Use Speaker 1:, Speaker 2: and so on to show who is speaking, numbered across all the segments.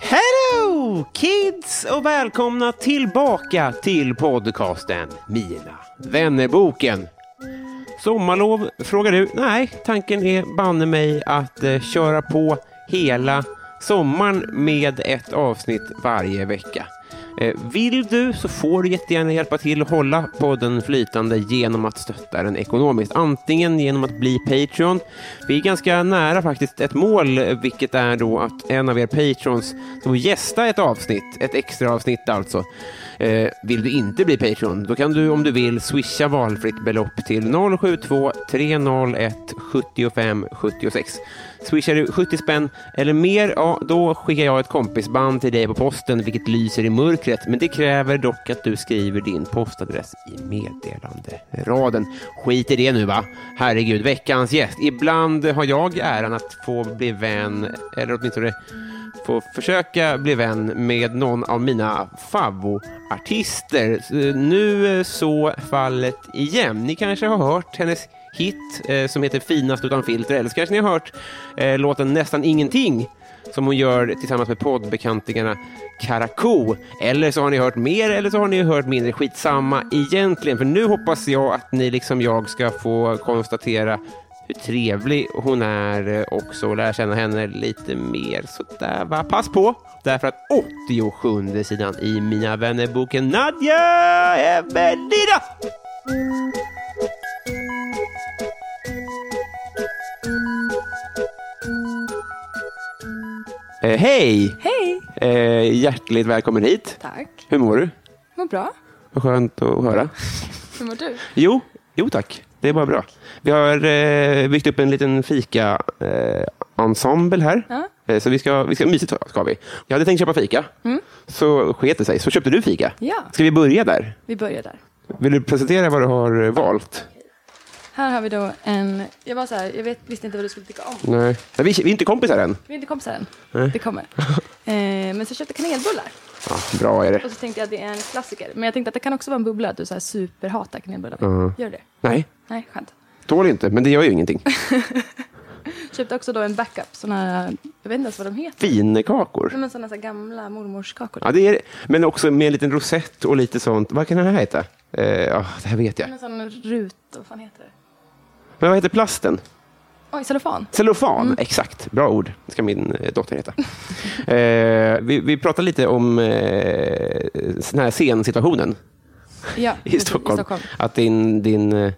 Speaker 1: Hello kids och välkomna tillbaka till podcasten Mina vännerboken. Sommarlov frågar du? Nej, tanken är banne mig att eh, köra på hela sommaren med ett avsnitt varje vecka. Eh, vill du så får du jättegärna hjälpa till att hålla podden flytande genom att stötta den ekonomiskt. Antingen genom att bli Patreon. Vi är ganska nära faktiskt ett mål, eh, vilket är då att en av er Patrons ska få gästa ett avsnitt, ett extra avsnitt alltså. Eh, vill du inte bli Patreon, då kan du om du vill swisha valfritt belopp till 072 301 75 76. Swishar du 70 spänn eller mer, ja, då skickar jag ett kompisband till dig på posten, vilket lyser i mörkret. Men det kräver dock att du skriver din postadress i meddelanderaden. Skit i det nu va? Herregud, veckans gäst. Ibland har jag äran att få bli vän, eller åtminstone få försöka bli vän med någon av mina favvoartister. Så, eh, Nu eh, så fallet igen. Ni kanske har hört hennes hit eh, som heter Finast utan filter, eller så kanske ni har hört eh, låten Nästan ingenting som hon gör tillsammans med poddbekantingarna Karakou. Eller så har ni hört mer eller så har ni hört mindre. Skitsamma egentligen, för nu hoppas jag att ni liksom jag ska få konstatera hur trevlig hon är eh, också och lära känna henne lite mer. Så där va, pass på! Därför att 87 sidan i Mina vännerboken Nadja Evelina! Eh, hej!
Speaker 2: Hej!
Speaker 1: Eh, hjärtligt välkommen hit.
Speaker 2: Tack.
Speaker 1: Hur mår du?
Speaker 2: Vad bra.
Speaker 1: Vad skönt att höra.
Speaker 2: Hur mår du?
Speaker 1: Jo, jo tack. Det är bara bra. Vi har eh, byggt upp en liten fika-ensemble här.
Speaker 2: Ja.
Speaker 1: Eh, så vi ska, vi ska mysigt ha- ska vi. Jag hade tänkt köpa fika. Så sket det sig. Så köpte du fika.
Speaker 2: Mm. Ja.
Speaker 1: Ska vi börja där?
Speaker 2: Vi börjar där.
Speaker 1: Vill du presentera vad du har eh, valt?
Speaker 2: Här har vi då en... Jag var så här, jag vet, visste inte vad du skulle tycka om.
Speaker 1: Nej. Nej, vi, vi är inte kompisar än.
Speaker 2: Vi är inte kompisar än. Det kommer. Eh, men så köpte jag kanelbullar.
Speaker 1: Ja, bra är det.
Speaker 2: Och så tänkte jag att det är en klassiker. Men jag tänkte att det kan också vara en bubbla att du så här superhatar kanelbullar. Gör du det?
Speaker 1: Nej,
Speaker 2: Nej, skönt.
Speaker 1: tål inte. Men det gör ju ingenting.
Speaker 2: Köpte också då en backup. Såna här, jag vet inte ens vad de heter.
Speaker 1: Finekakor.
Speaker 2: Nej, men såna så här gamla mormorskakor.
Speaker 1: Ja, det är det. Men också med en liten rosett och lite sånt. Vad kan den här heta? Eh, ja, det här vet jag.
Speaker 2: En sån rut, vad fan heter det?
Speaker 1: Men vad heter plasten?
Speaker 2: Oj, cellofan.
Speaker 1: Cellofan, exakt. Bra ord. Det ska min eh, dotter heta. eh, vi, vi pratar lite om eh, den här scensituationen
Speaker 2: Ja,
Speaker 1: i
Speaker 2: precis,
Speaker 1: Stockholm. Att, din, din, eh,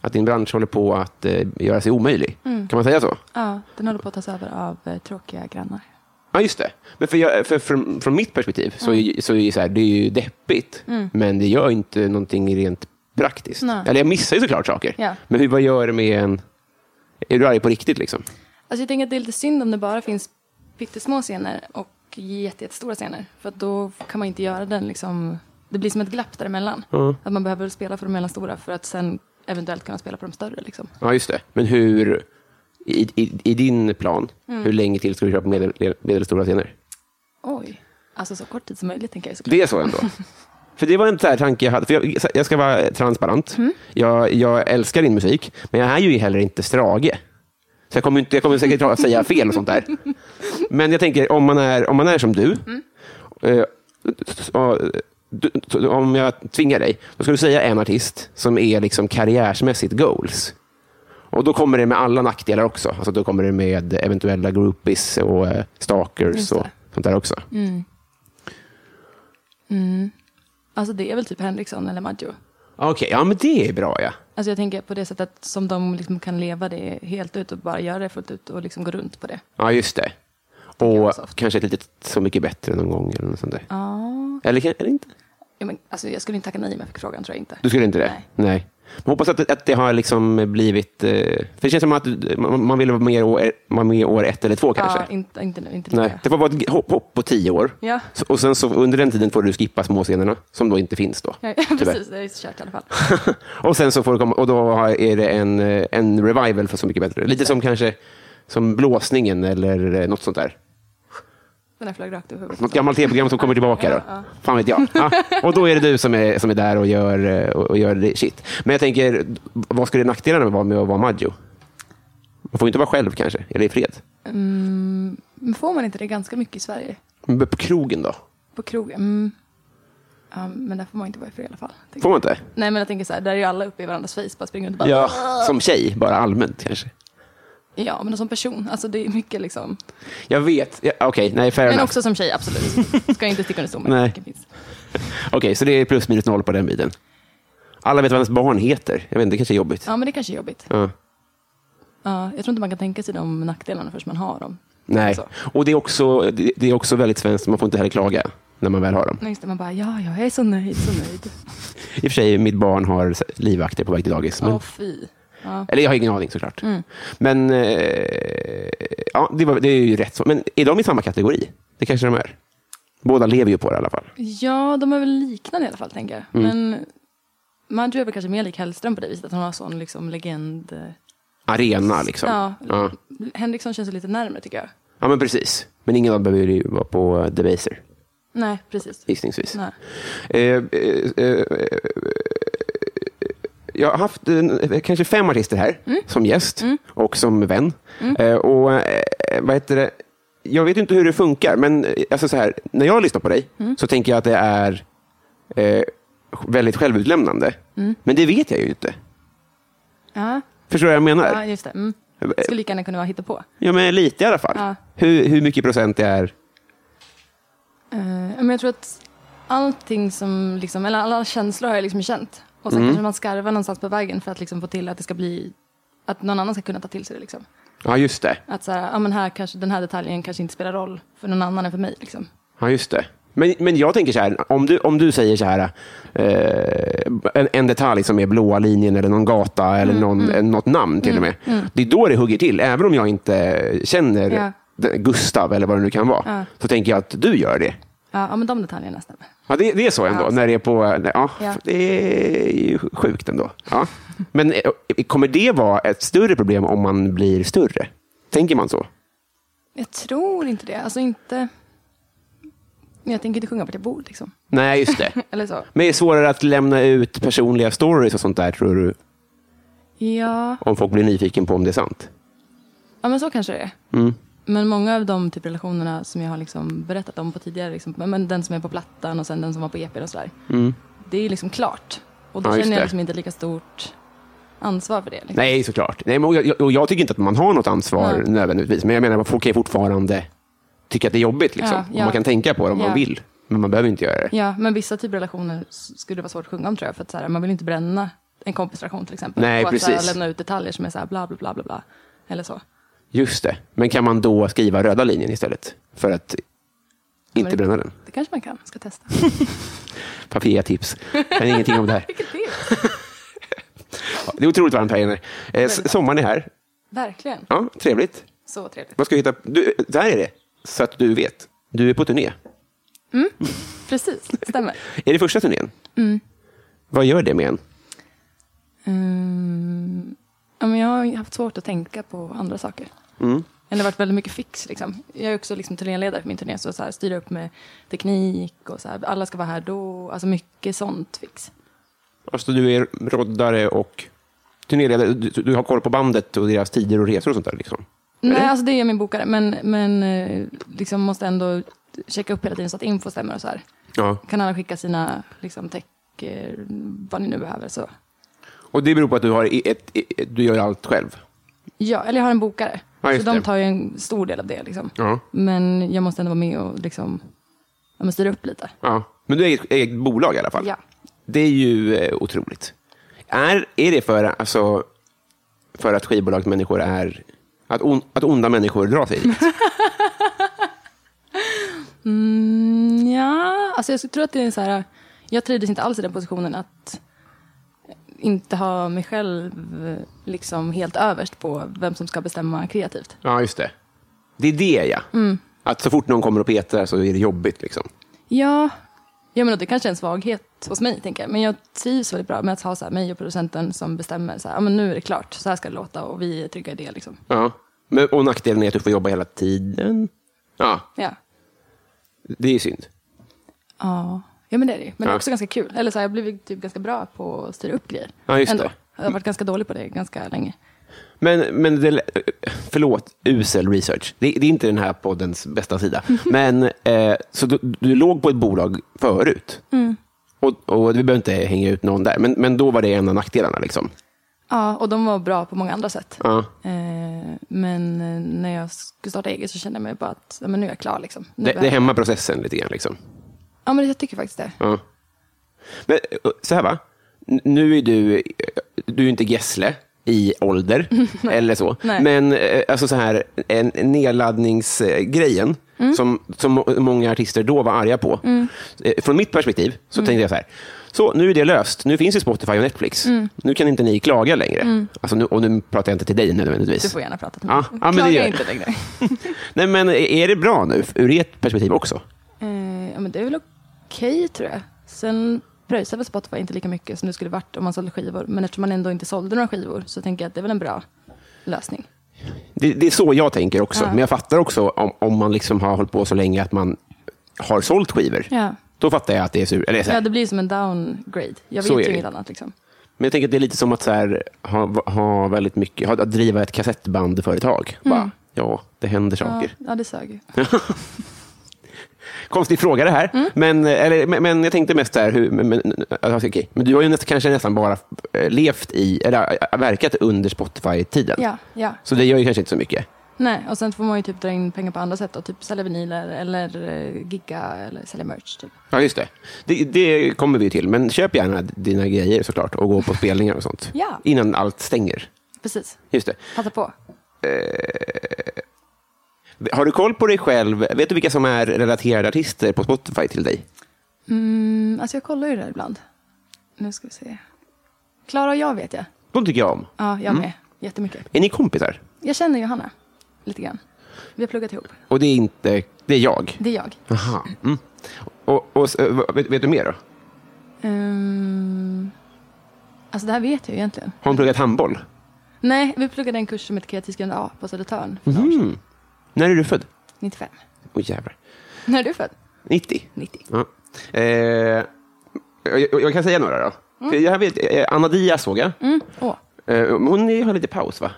Speaker 1: att din bransch håller på att eh, göra sig omöjlig. Kan man säga så?
Speaker 2: Ja, den håller på att tas över av eh, tråkiga grannar.
Speaker 1: Ja, just det. Men för jag, för, från, från mitt perspektiv så, är, så är det så här, det är ju deppigt, men det gör inte någonting rent praktiskt.
Speaker 2: Nej.
Speaker 1: Eller jag missar ju såklart saker,
Speaker 2: Ja.
Speaker 1: men hur, vad gör det med en... Är du arg på riktigt? liksom?
Speaker 2: Alltså jag tänker att det är lite synd om det bara finns pyttesmå scener och jätte, jättestora scener. För att då kan man inte göra den liksom... Det blir som ett glapp däremellan. Att man behöver spela för de mellanstora för att sen eventuellt kunna spela på de större. Liksom.
Speaker 1: Ja, just det. Men hur, i, i, i din plan, hur länge till ska du köra på medel, medelstora scener?
Speaker 2: Oj. Alltså så kort tid som möjligt tänker jag såklart.
Speaker 1: Det är så ändå. För det var en så här tanke jag hade. För jag, jag ska vara transparent.
Speaker 2: Mm.
Speaker 1: Jag, jag älskar din musik, men jag är ju heller inte Strage. Så jag kommer, inte, jag kommer säkert att säga fel och sånt där.
Speaker 2: Mm.
Speaker 1: Men jag tänker, om man är, om man är som du, eh, så, eh, du, t- om jag tvingar dig, då ska du säga en artist som är liksom karriärsmässigt goals. Och då kommer det med alla nackdelar också. Alltså då kommer det med eventuella groupies och eh, stalkers
Speaker 2: Just
Speaker 1: och
Speaker 2: det. Mm.
Speaker 1: sånt där också.
Speaker 2: Alltså det är väl typ Henriksson eller Maggio.
Speaker 1: Okej, ja men det är bra ja.
Speaker 2: Alltså jag tänker på det sättet som de liksom kan leva det helt ut och bara göra det fullt ut och liksom gå runt på det.
Speaker 1: Ja, just det.
Speaker 2: vara
Speaker 1: Och
Speaker 2: soft.
Speaker 1: kanske ett litet Så mycket bättre någon gång eller något sånt där. Eller, kan- eller inte.
Speaker 2: Ja, men, alltså jag skulle inte tacka nej om jag fick frågan, tror jag inte.
Speaker 1: Du skulle inte det?
Speaker 2: Nej.
Speaker 1: Men hoppas att, att det har liksom blivit... eh, För det känns som att du- man, man vill vara med, år, vara med år ett eller två kanske.
Speaker 2: Ja, inte, inte nu, inte
Speaker 1: Nej,
Speaker 2: lika.
Speaker 1: det får vara ett hopp, hopp på tio år.
Speaker 2: Ja.
Speaker 1: Så- Och sen så under den tiden får du skippa småscenerna, som då inte finns då.
Speaker 2: Ja,
Speaker 1: tyvärr.
Speaker 2: precis, det är så kört i alla fall.
Speaker 1: Och sen så får du komma, och då har- är det en, eh, en revival för Så mycket bättre. Lite som kanske som blåsningen eller eh, något sånt där.
Speaker 2: Den här flög rakt över huvudet.
Speaker 1: Något gammalt tv-program som kommer tillbaka då? Fan vet jag. Ja. Och då är det du som är, som är där och gör, eh, och och gör det- shit. Men jag tänker, vad skulle nackdelarna vara med att vara Maggio? Man får ju inte vara själv kanske, eller i fred.
Speaker 2: Men får man inte det ganska mycket i Sverige?
Speaker 1: Men på krogen då?
Speaker 2: På krogen? Mm. Ja, men där får man inte vara i fred i alla fall. tänker
Speaker 1: Får man inte?
Speaker 2: jag. Nej, men jag tänker så här, där är ju alla uppe i varandras face, bara springer runt och bara...
Speaker 1: Ja. Som tjej, bara allmänt kanske.
Speaker 2: ja, men som person, alltså det är mycket liksom.
Speaker 1: Jag vet. Ja, Okej, nej, fair
Speaker 2: Men
Speaker 1: enough.
Speaker 2: också som tjej, absolut. Ska jag inte sticka under stol med.
Speaker 1: Nej.
Speaker 2: Det finns.
Speaker 1: Okej, så det är plus minus noll på den biten. Alla vet vad ens barn heter. Jag vet inte, det kanske är jobbigt.
Speaker 2: Ja, men det kanske är jobbigt.
Speaker 1: Ja.
Speaker 2: Ja, jag tror inte man kan tänka sig de nackdelarna förrän man har dem.
Speaker 1: Nej,
Speaker 2: Så.
Speaker 1: och det är, också, det det är också väldigt svenskt. Man får inte heller klaga när man väl har dem.
Speaker 2: Nej, Just det, man bara, ja, jag är så nöjd, så nöjd.
Speaker 1: I och för sig, mitt barn har livvakter på väg till dagis.
Speaker 2: Åh,
Speaker 1: Men,
Speaker 2: fy.
Speaker 1: Eller jag har ingen aning såklart. Men eh, ja, det, var, det är ju rätt så. Men är de i samma kategori? Det kanske de är. Båda lever ju på det i alla fall.
Speaker 2: Ja, de är väl liknande i alla fall, tänker jag.
Speaker 1: Mm.
Speaker 2: Men Maggio är väl kanske mer lik Hellström på det viset, att hon har sån liksom legend...
Speaker 1: Arena liksom.
Speaker 2: Ja.
Speaker 1: Ja.
Speaker 2: Henriksson känns ju lite närmare, tycker jag.
Speaker 1: Ja, men precis. Men ingen av dem behöver ju vara på Debaser,
Speaker 2: Nej, precis.
Speaker 1: gissningsvis.
Speaker 2: Nej.
Speaker 1: Eh, eh, eh, eh, jag har haft eh, kanske fem artister här som gäst och som vän. Eh, och eh, vad heter det? Jag vet inte hur det funkar, men eh, alltså så här, när jag lyssnar på dig så tänker jag att det är eh, väldigt självutlämnande. Men det vet jag ju inte.
Speaker 2: Ja,
Speaker 1: Förstår du vad jag
Speaker 2: ja
Speaker 1: menar?
Speaker 2: just det. Mm.
Speaker 1: Eh,
Speaker 2: Skulle lika gärna kunna vara hittepå.
Speaker 1: Ja, men lite i alla fall.
Speaker 2: Ja.
Speaker 1: Hur, hur mycket procent det är?
Speaker 2: Eh, men jag tror att allting som, liksom, eller alla känslor har jag liksom känt. Och sen kanske man skarvar någonstans på vägen för att liksom få till att det ska bli, att någon annan ska kunna ta till sig det. Liksom.
Speaker 1: Ja, just det.
Speaker 2: Att så här, ja, men här kanske, den här detaljen kanske inte spelar roll för någon annan än för mig. Liksom.
Speaker 1: Ja, just det. Men, men jag tänker så här, om du, om du säger så här, eh, en, en detalj som är blåa linjen eller någon gata
Speaker 2: Mm,
Speaker 1: eller någon, eh, något namn till och med. Det är då det hugger till, även om jag inte känner
Speaker 2: Ja.
Speaker 1: den- Gustav eller vad det nu kan vara.
Speaker 2: Ja.
Speaker 1: Så tänker jag att du gör det.
Speaker 2: Ja, ja, men de detaljerna stämmer.
Speaker 1: Ja, det, det är så ändå,
Speaker 2: Ja.
Speaker 1: när det är på... nej, Ja,
Speaker 2: Ja.
Speaker 1: Det är ju sjukt ändå. Ja. Men eh, kommer det vara ett större problem om man blir större? Tänker man så?
Speaker 2: Jag tror inte det. Alltså inte... Jag tänker inte sjunga vart jag bor liksom.
Speaker 1: Nej, just det.
Speaker 2: Eller så.
Speaker 1: Men är det svårare att lämna ut personliga stories och sånt där, tror du?
Speaker 2: Ja,
Speaker 1: om folk blir nyfiken på om det är sant.
Speaker 2: ja men så kanske det är.
Speaker 1: Mm.
Speaker 2: Men många av de typ relationerna som jag har liksom berättat om på tidigare, liksom, men- men den som är på plattan och sen den som var på EP och sådär. Det är liksom klart. Och då
Speaker 1: Mm. Ja, just
Speaker 2: känner
Speaker 1: det.
Speaker 2: jag liksom inte lika stort ansvar för det. Liksom.
Speaker 1: Nej, såklart. Nej, men och jag, och jag tycker inte att man har något ansvar
Speaker 2: Nej.
Speaker 1: nödvändigtvis, men jag menar, man får- kan ju fortfarande tycka att det är jobbigt. Liksom.
Speaker 2: Ja,
Speaker 1: Och
Speaker 2: ja.
Speaker 1: Man kan tänka på det om man
Speaker 2: Ja.
Speaker 1: vill, men man behöver inte göra det.
Speaker 2: Ja, men vissa typer av relationer s- skulle det vara svårt att sjunga om tror jag. För att så här, man vill inte bränna en kompisrelation till exempel.
Speaker 1: Nej,
Speaker 2: och att så här,
Speaker 1: precis.
Speaker 2: lämna ut detaljer som är så här bla bla bla bla bla. Eller så.
Speaker 1: Just det. Men kan man då skriva röda linjen istället för att inte
Speaker 2: men-
Speaker 1: bränna den?
Speaker 2: Det kanske man kan, ska testa.
Speaker 1: Papia tips. Kan ingenting om det här.
Speaker 2: Vilket tips!
Speaker 1: Ja, Det är otroligt varmt här inne. Eh, s- sommaren är här.
Speaker 2: Verkligen.
Speaker 1: Ja, trevligt.
Speaker 2: Så trevligt.
Speaker 1: Vad ska vi hitta? Du, där är det, så att du vet. Du är på turné.
Speaker 2: Precis, stämmer.
Speaker 1: Är det första turnén? Vad gör det med en?
Speaker 2: Mm, ja, men jag har haft svårt att tänka på andra saker.
Speaker 1: Mm.
Speaker 2: Eller varit väldigt mycket fix. Liksom. Jag är också liksom turnéledare för min turné, så, så här, styra upp med teknik och så här, alla ska vara här då. Alltså mycket sånt fix.
Speaker 1: Alltså du är roddare och turnéledare. Du, du har koll på bandet och deras tider och resor och sånt där. Liksom.
Speaker 2: Nej, alltså det är min bokare, men, men eh, liksom måste ändå checka upp hela tiden så att info stämmer och så här.
Speaker 1: Ja.
Speaker 2: Kan alla skicka sina liksom, tech, eh, vad ni nu behöver. Så.
Speaker 1: Och det beror på att du, har i- ett, i- ett, du gör allt själv.
Speaker 2: Ja, eller jag har en bokare.
Speaker 1: Ja,
Speaker 2: så
Speaker 1: just det.
Speaker 2: de tar ju en stor del av det. Liksom.
Speaker 1: Ja.
Speaker 2: Men jag måste ändå vara med och liksom, ja, men styra upp lite.
Speaker 1: Ja. Men du är ett eget bolag i alla fall.
Speaker 2: Ja.
Speaker 1: Det är ju eh, otroligt. Är, är det för, alltså, för att skivbolagsmänniskor är... Att, on, att onda människor drar sig dit?
Speaker 2: Mm, ja, alltså jag skulle tro att det är så här. Jag trivdes inte alls i den positionen att inte ha mig själv eh, liksom helt överst på vem som ska bestämma kreativt.
Speaker 1: ja, just det. Det är det, ja. Att så fort någon kommer och petar så är det jobbigt. Liksom.
Speaker 2: Ja, jag menar det kanske är en svaghet hos mig, tänker jag. Men jag trivs väldigt bra med att ha så här, mig och producenten som bestämmer. Så här, ja, men nu är det klart, så här ska det låta och vi är trygga i det. Liksom.
Speaker 1: Ja. Men, och nackdelen är att du får jobba hela tiden. Ja,
Speaker 2: Ja.
Speaker 1: det är ju synd.
Speaker 2: Ja. ja, men det är det ju. Men det
Speaker 1: Ja.
Speaker 2: är också ganska kul. Eller så här, jag har blivit typ ganska bra på att styra upp grejer.
Speaker 1: Ja, just det.
Speaker 2: Jag har varit ganska dålig på det ganska länge.
Speaker 1: Men, men det, förlåt, usel research. Det, det är inte den här poddens bästa sida. Men, eh, så du, du låg på ett bolag förut. Och, och vi behöver inte hänga ut någon där. Men, men då var det en av nackdelarna. Liksom.
Speaker 2: Ja, och de var bra på många andra sätt.
Speaker 1: Ja.
Speaker 2: Eh, men eh, när jag skulle starta eget så kände jag mig bara att ja, men nu är jag klar. Liksom.
Speaker 1: Det,
Speaker 2: Nu behöver-
Speaker 1: det hämmar processen lite grann. Liksom.
Speaker 2: Ja, men jag tycker faktiskt det.
Speaker 1: Ja. Men, eh, så här va, N- nu är du, eh, du är ju inte Gessle i ålder eller så.
Speaker 2: Nej.
Speaker 1: Men eh, alltså så här, en en nedladdningsgrejen
Speaker 2: Mm.
Speaker 1: som, som många artister då var arga på. Eh, Från mitt perspektiv så
Speaker 2: Mm.
Speaker 1: tänkte jag så här, så nu är det löst, nu finns ju Spotify och Netflix.
Speaker 2: Mm.
Speaker 1: Nu kan inte ni klaga längre. Alltså nu, och nu pratar jag inte till dig nödvändigtvis.
Speaker 2: Du Mm. får gärna prata till mig.
Speaker 1: Ja, ja, men det
Speaker 2: Klaga
Speaker 1: gör jag.
Speaker 2: inte längre.
Speaker 1: Nej, men eh, är det bra nu ur ert perspektiv också?
Speaker 2: Eh, ja, men det är väl okej, tror jag. Sen pröjsade väl Spotify inte lika mycket som det skulle varit om man sålde skivor. Men eftersom man ändå inte sålde några skivor så tänker jag att det är väl en bra lösning.
Speaker 1: Det, det är så jag tänker också.
Speaker 2: Ja.
Speaker 1: Men jag fattar också om, om man liksom har hållit på så länge att man har sålt skivor.
Speaker 2: Ja.
Speaker 1: Då fattar jag att det är sur. Eller så här.
Speaker 2: Ja, det blir ju som en downgrade. Jag vet
Speaker 1: Så är
Speaker 2: ju
Speaker 1: det.
Speaker 2: inget annat. Liksom.
Speaker 1: Men jag tänker att det är lite som att så här, ha, ha väldigt mycket, ha, att driva ett kassettbandföretag. Bara, ja, det händer
Speaker 2: Mm. Ja,
Speaker 1: saker.
Speaker 2: ja, det sög ju.
Speaker 1: Konstig fråga det här.
Speaker 2: Mm.
Speaker 1: Men, eller, men, men jag tänkte mest så här, hur, men, men, alltså, okej. men du har ju nästan, kanske nästan bara eh, levt i, eller äh, verkat under Spotify-tiden.
Speaker 2: Ja, ja.
Speaker 1: Så det gör ju kanske inte så mycket.
Speaker 2: Nej, och sen får man ju typ dra in pengar på andra sätt då, typ sälja vinyler eller eh, gigga eller sälja merch typ.
Speaker 1: Ja, just det. det. Det kommer vi till, men köp gärna dina grejer såklart och gå på spelningar och sånt.
Speaker 2: Ja.
Speaker 1: Innan allt stänger.
Speaker 2: Precis,
Speaker 1: Just det.
Speaker 2: passa på.
Speaker 1: Har du koll på dig själv? Vet du vilka som är relaterade artister på Spotify till dig?
Speaker 2: Mm, alltså jag kollar ju det här ibland. Nu ska vi se. Klara och jag vet jag.
Speaker 1: De tycker jag om.
Speaker 2: Ja, jag med. Jättemycket.
Speaker 1: Är ni kompisar?
Speaker 2: Jag känner Johanna lite grann. Vi har pluggat ihop.
Speaker 1: Och det är inte... Det är jag.
Speaker 2: Det är jag.
Speaker 1: Aha. Mm. Och, och, s- eh, vet, vet du mer då?
Speaker 2: Ehm, alltså det här vet jag ju egentligen.
Speaker 1: Har hon pluggat handboll?
Speaker 2: Nej, vi pluggade en kurs som heter kreativt grund A på Södertörn för
Speaker 1: Mhm.
Speaker 2: några år sedan.
Speaker 1: När är du född?
Speaker 2: 95.
Speaker 1: Åh jävlar.
Speaker 2: När är du född?
Speaker 1: 90?
Speaker 2: 90.
Speaker 1: Ja. Eh, jag, jag kan säga några då. För Jag vet, eh, Anna Diaz såg jag.
Speaker 2: Åh.
Speaker 1: Eh, Hon är- har lite paus, va?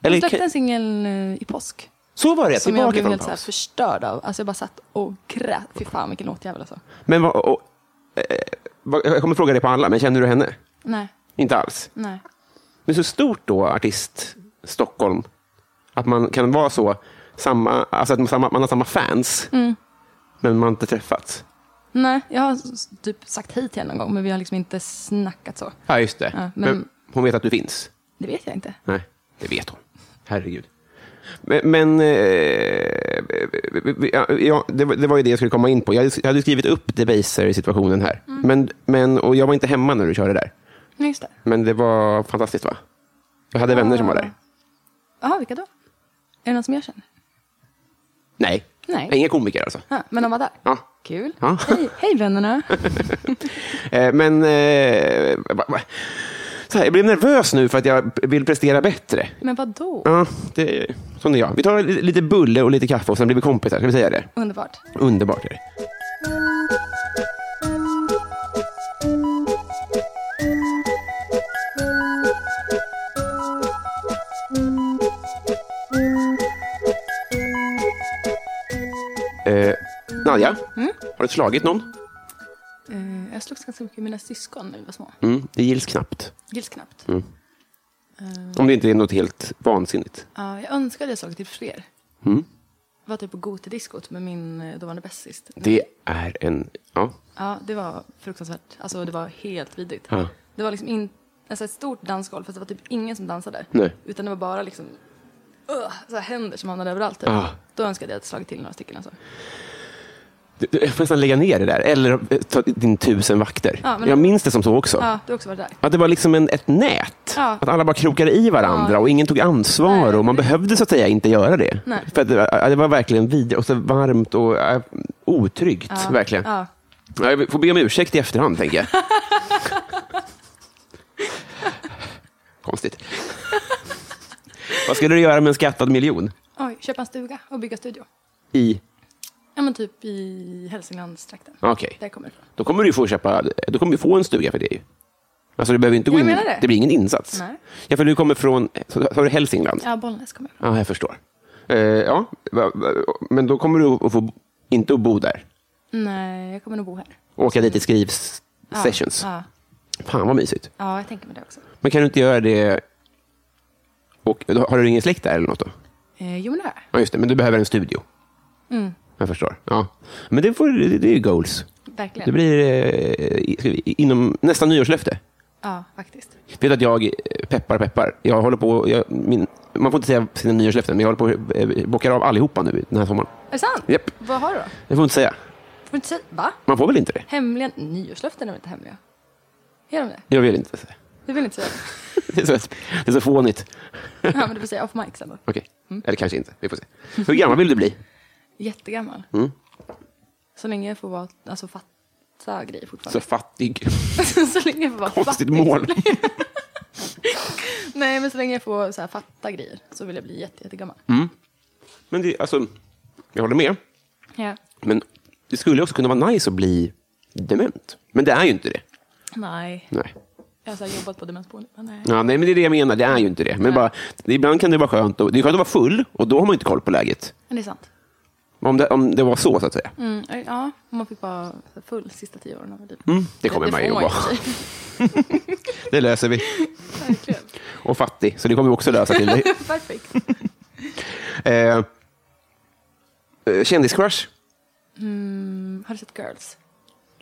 Speaker 2: Jag
Speaker 1: Eller
Speaker 2: släppte
Speaker 1: kan-
Speaker 2: en singel eh, i påsk.
Speaker 1: Så var det,
Speaker 2: Som jag
Speaker 1: tillbaka
Speaker 2: blev
Speaker 1: från
Speaker 2: helt så här
Speaker 1: paus.
Speaker 2: förstörd av. Alltså jag bara satt och grät. Fy fan vilken låtjävel alltså.
Speaker 1: Men vad, och, eh, vad, jag kommer fråga dig på alla, men känner du henne?
Speaker 2: Nej,
Speaker 1: Inte alls.
Speaker 2: nej.
Speaker 1: Men så stort då, artist Stockholm, att man kan vara så, samma, alltså att man, samma, man har samma fans,
Speaker 2: Mm.
Speaker 1: men man har inte träffats.
Speaker 2: Nej, jag har s- typ sagt hej till henne någon gång men vi har liksom inte snackat så.
Speaker 1: Ja, just det.
Speaker 2: Ja,
Speaker 1: men...
Speaker 2: men-
Speaker 1: hon vet att du finns?
Speaker 2: Det vet jag inte.
Speaker 1: Nej, det vet hon. Herregud. Men, men eh, ja, ja, det, var- det var ju det jag skulle komma in på. Jag hade- jag hade skrivit upp Debaser-situationen här.
Speaker 2: Mm.
Speaker 1: Men, men, och jag var inte hemma när du körde där.
Speaker 2: Nej, just det.
Speaker 1: Men det var fantastiskt va? Jag hade vänner som var där.
Speaker 2: Jaha, vilka då? Är det någon som jag känner?
Speaker 1: Nej.
Speaker 2: Nej.
Speaker 1: Inga komiker alltså.
Speaker 2: Ja, men de var där?
Speaker 1: Ja.
Speaker 2: Kul.
Speaker 1: Ja.
Speaker 2: Hej, hej vännerna.
Speaker 1: Eh, Men... Eh, va- va- så här, jag blev nervös nu för att jag vill prestera bättre.
Speaker 2: Men vad då?
Speaker 1: Ja, det, sån är jag. Vi tar li- lite bulle och lite kaffe och sen blir vi kompisar. Ska vi säga det?
Speaker 2: Underbart.
Speaker 1: Underbart är det. Eh, Nadja,
Speaker 2: Mm?
Speaker 1: har du slagit någon?
Speaker 2: Eh, jag slogs ganska mycket med mina syskon när vi var små.
Speaker 1: Mm, det gills knappt.
Speaker 2: Gills knappt.
Speaker 1: Mm. Om det inte är något helt vansinnigt.
Speaker 2: Ja, jag önskade jag slagit till fler.
Speaker 1: Mm.
Speaker 2: Var typ på Gotediskot med min eh, dåvarande bästis.
Speaker 1: Det är en... Ja.
Speaker 2: Ja, det var fruktansvärt. Alltså det var helt vidrigt.
Speaker 1: Ja.
Speaker 2: Det var liksom in, alltså ett stort dansgolv fast det var typ ingen som dansade.
Speaker 1: Nej.
Speaker 2: Utan det var bara liksom ugh, så här händer som hamnade överallt. Typ.
Speaker 1: Ah.
Speaker 2: Då önskade jag att slagit till några stycken. Alltså.
Speaker 1: Du, du, jag får nästan lägga ner det där. Eller eh, ta din tusen vakter.
Speaker 2: Ja, men-
Speaker 1: Jag minns det som så också.
Speaker 2: Ja, du har också varit där.
Speaker 1: Att det var liksom en, ett nät.
Speaker 2: Ja.
Speaker 1: Att alla bara krokade i varandra
Speaker 2: Ja.
Speaker 1: och ingen tog ansvar.
Speaker 2: Nej.
Speaker 1: Och man behövde så att säga inte göra det.
Speaker 2: Nej.
Speaker 1: För att det, var, det var verkligen vidrigt och så varmt och äh, otryggt. Verkligen.
Speaker 2: Ja.
Speaker 1: Ja, Jag får be om ursäkt i efterhand, tänker jag. Konstigt. Vad skulle du göra med en skattad miljon?
Speaker 2: Oj, köpa en stuga och bygga studio.
Speaker 1: I...
Speaker 2: Ja men typ i Hälsinglandstrakten.
Speaker 1: Okej.
Speaker 2: Där kommer det ifrån.
Speaker 1: Då kommer du ju få köpa, då kommer du få en stuga för det. ju. Alltså du behöver inte gå
Speaker 2: Jag
Speaker 1: in,
Speaker 2: menar det.
Speaker 1: blir ingen insats.
Speaker 2: Nej.
Speaker 1: Ja, för du kommer från, sa du Hälsingland?
Speaker 2: Ja, Bollnäs kommer jag ifrån.
Speaker 1: Ja, jag förstår. Eh, ja, va- va- men då kommer du att få, inte att bo där.
Speaker 2: Nej, jag kommer nog bo här.
Speaker 1: Åka dit i skrivs sessions.
Speaker 2: Ja,
Speaker 1: Fan vad mysigt.
Speaker 2: ja, jag tänker mig det också.
Speaker 1: Men kan du inte göra det... Och, har du ingen släkt där eller något då?
Speaker 2: Eh, jo men det har jag.
Speaker 1: Ja, just det. Men du behöver en studio.
Speaker 2: Mm.
Speaker 1: Jag förstår. Ja. Men det, får, det, det är ju goals.
Speaker 2: Verkligen.
Speaker 1: Det blir eh, i- ska vi- inom nästa nyårslöfte.
Speaker 2: Ja, faktiskt.
Speaker 1: Vet du att jag, eh, peppar peppar, jag håller på... Jag, min, man får inte säga sina nyårslöften, men jag håller på eh, bockar av allihopa nu den här sommaren.
Speaker 2: Är det sant?
Speaker 1: Japp.
Speaker 2: Vad har du då?
Speaker 1: Det får man inte säga.
Speaker 2: Får du inte säga? Va?
Speaker 1: Man får väl inte det?
Speaker 2: Hemliga? Nyårslöften är väl inte hemliga? Är de det?
Speaker 1: Jag vill inte säga.
Speaker 2: Du vill inte säga
Speaker 1: Det är så, det är så fånigt.
Speaker 2: det? Ja, men du får säga off mic sen då.
Speaker 1: Okej. Eller kanske inte. Vi får se. Hur gammal vill du bli?
Speaker 2: Jättegammal.
Speaker 1: Mm.
Speaker 2: Så länge jag får vara, alltså fatta grejer
Speaker 1: Så
Speaker 2: fortfarande.
Speaker 1: fattig.
Speaker 2: Så, länge jag får vara
Speaker 1: Konstigt
Speaker 2: fattig.
Speaker 1: mål.
Speaker 2: Nej, men så länge jag får så här, fatta grejer så vill jag bli jätte, jättegammal.
Speaker 1: Mm. Men det, alltså, jag håller med.
Speaker 2: Ja.
Speaker 1: Men det skulle också kunna vara nice att bli dement. Men det är ju inte det.
Speaker 2: Nej.
Speaker 1: Nej.
Speaker 2: Jag har så här, jobbat på demensboende. Men nej.
Speaker 1: Ja, nej, men det är det jag menar. Det är ju inte det. Men bara, ibland kan det vara skönt. Att, det är skönt att vara full och då har man inte koll på läget.
Speaker 2: Men det är sant.
Speaker 1: Om det, om det var så, så att säga.
Speaker 2: Mm, ja, man fick vara så här full sista tio åren av mitt liv.
Speaker 1: Mm. det kommer man ju
Speaker 2: får
Speaker 1: att
Speaker 2: i och
Speaker 1: vara.
Speaker 2: för sig.
Speaker 1: Det löser vi.
Speaker 2: Verkligen.
Speaker 1: Och fattig, så det kommer vi också lösa till dig.
Speaker 2: Perfekt.
Speaker 1: Eh, eh, Kändiscrush?
Speaker 2: Mm, Har du sett Girls?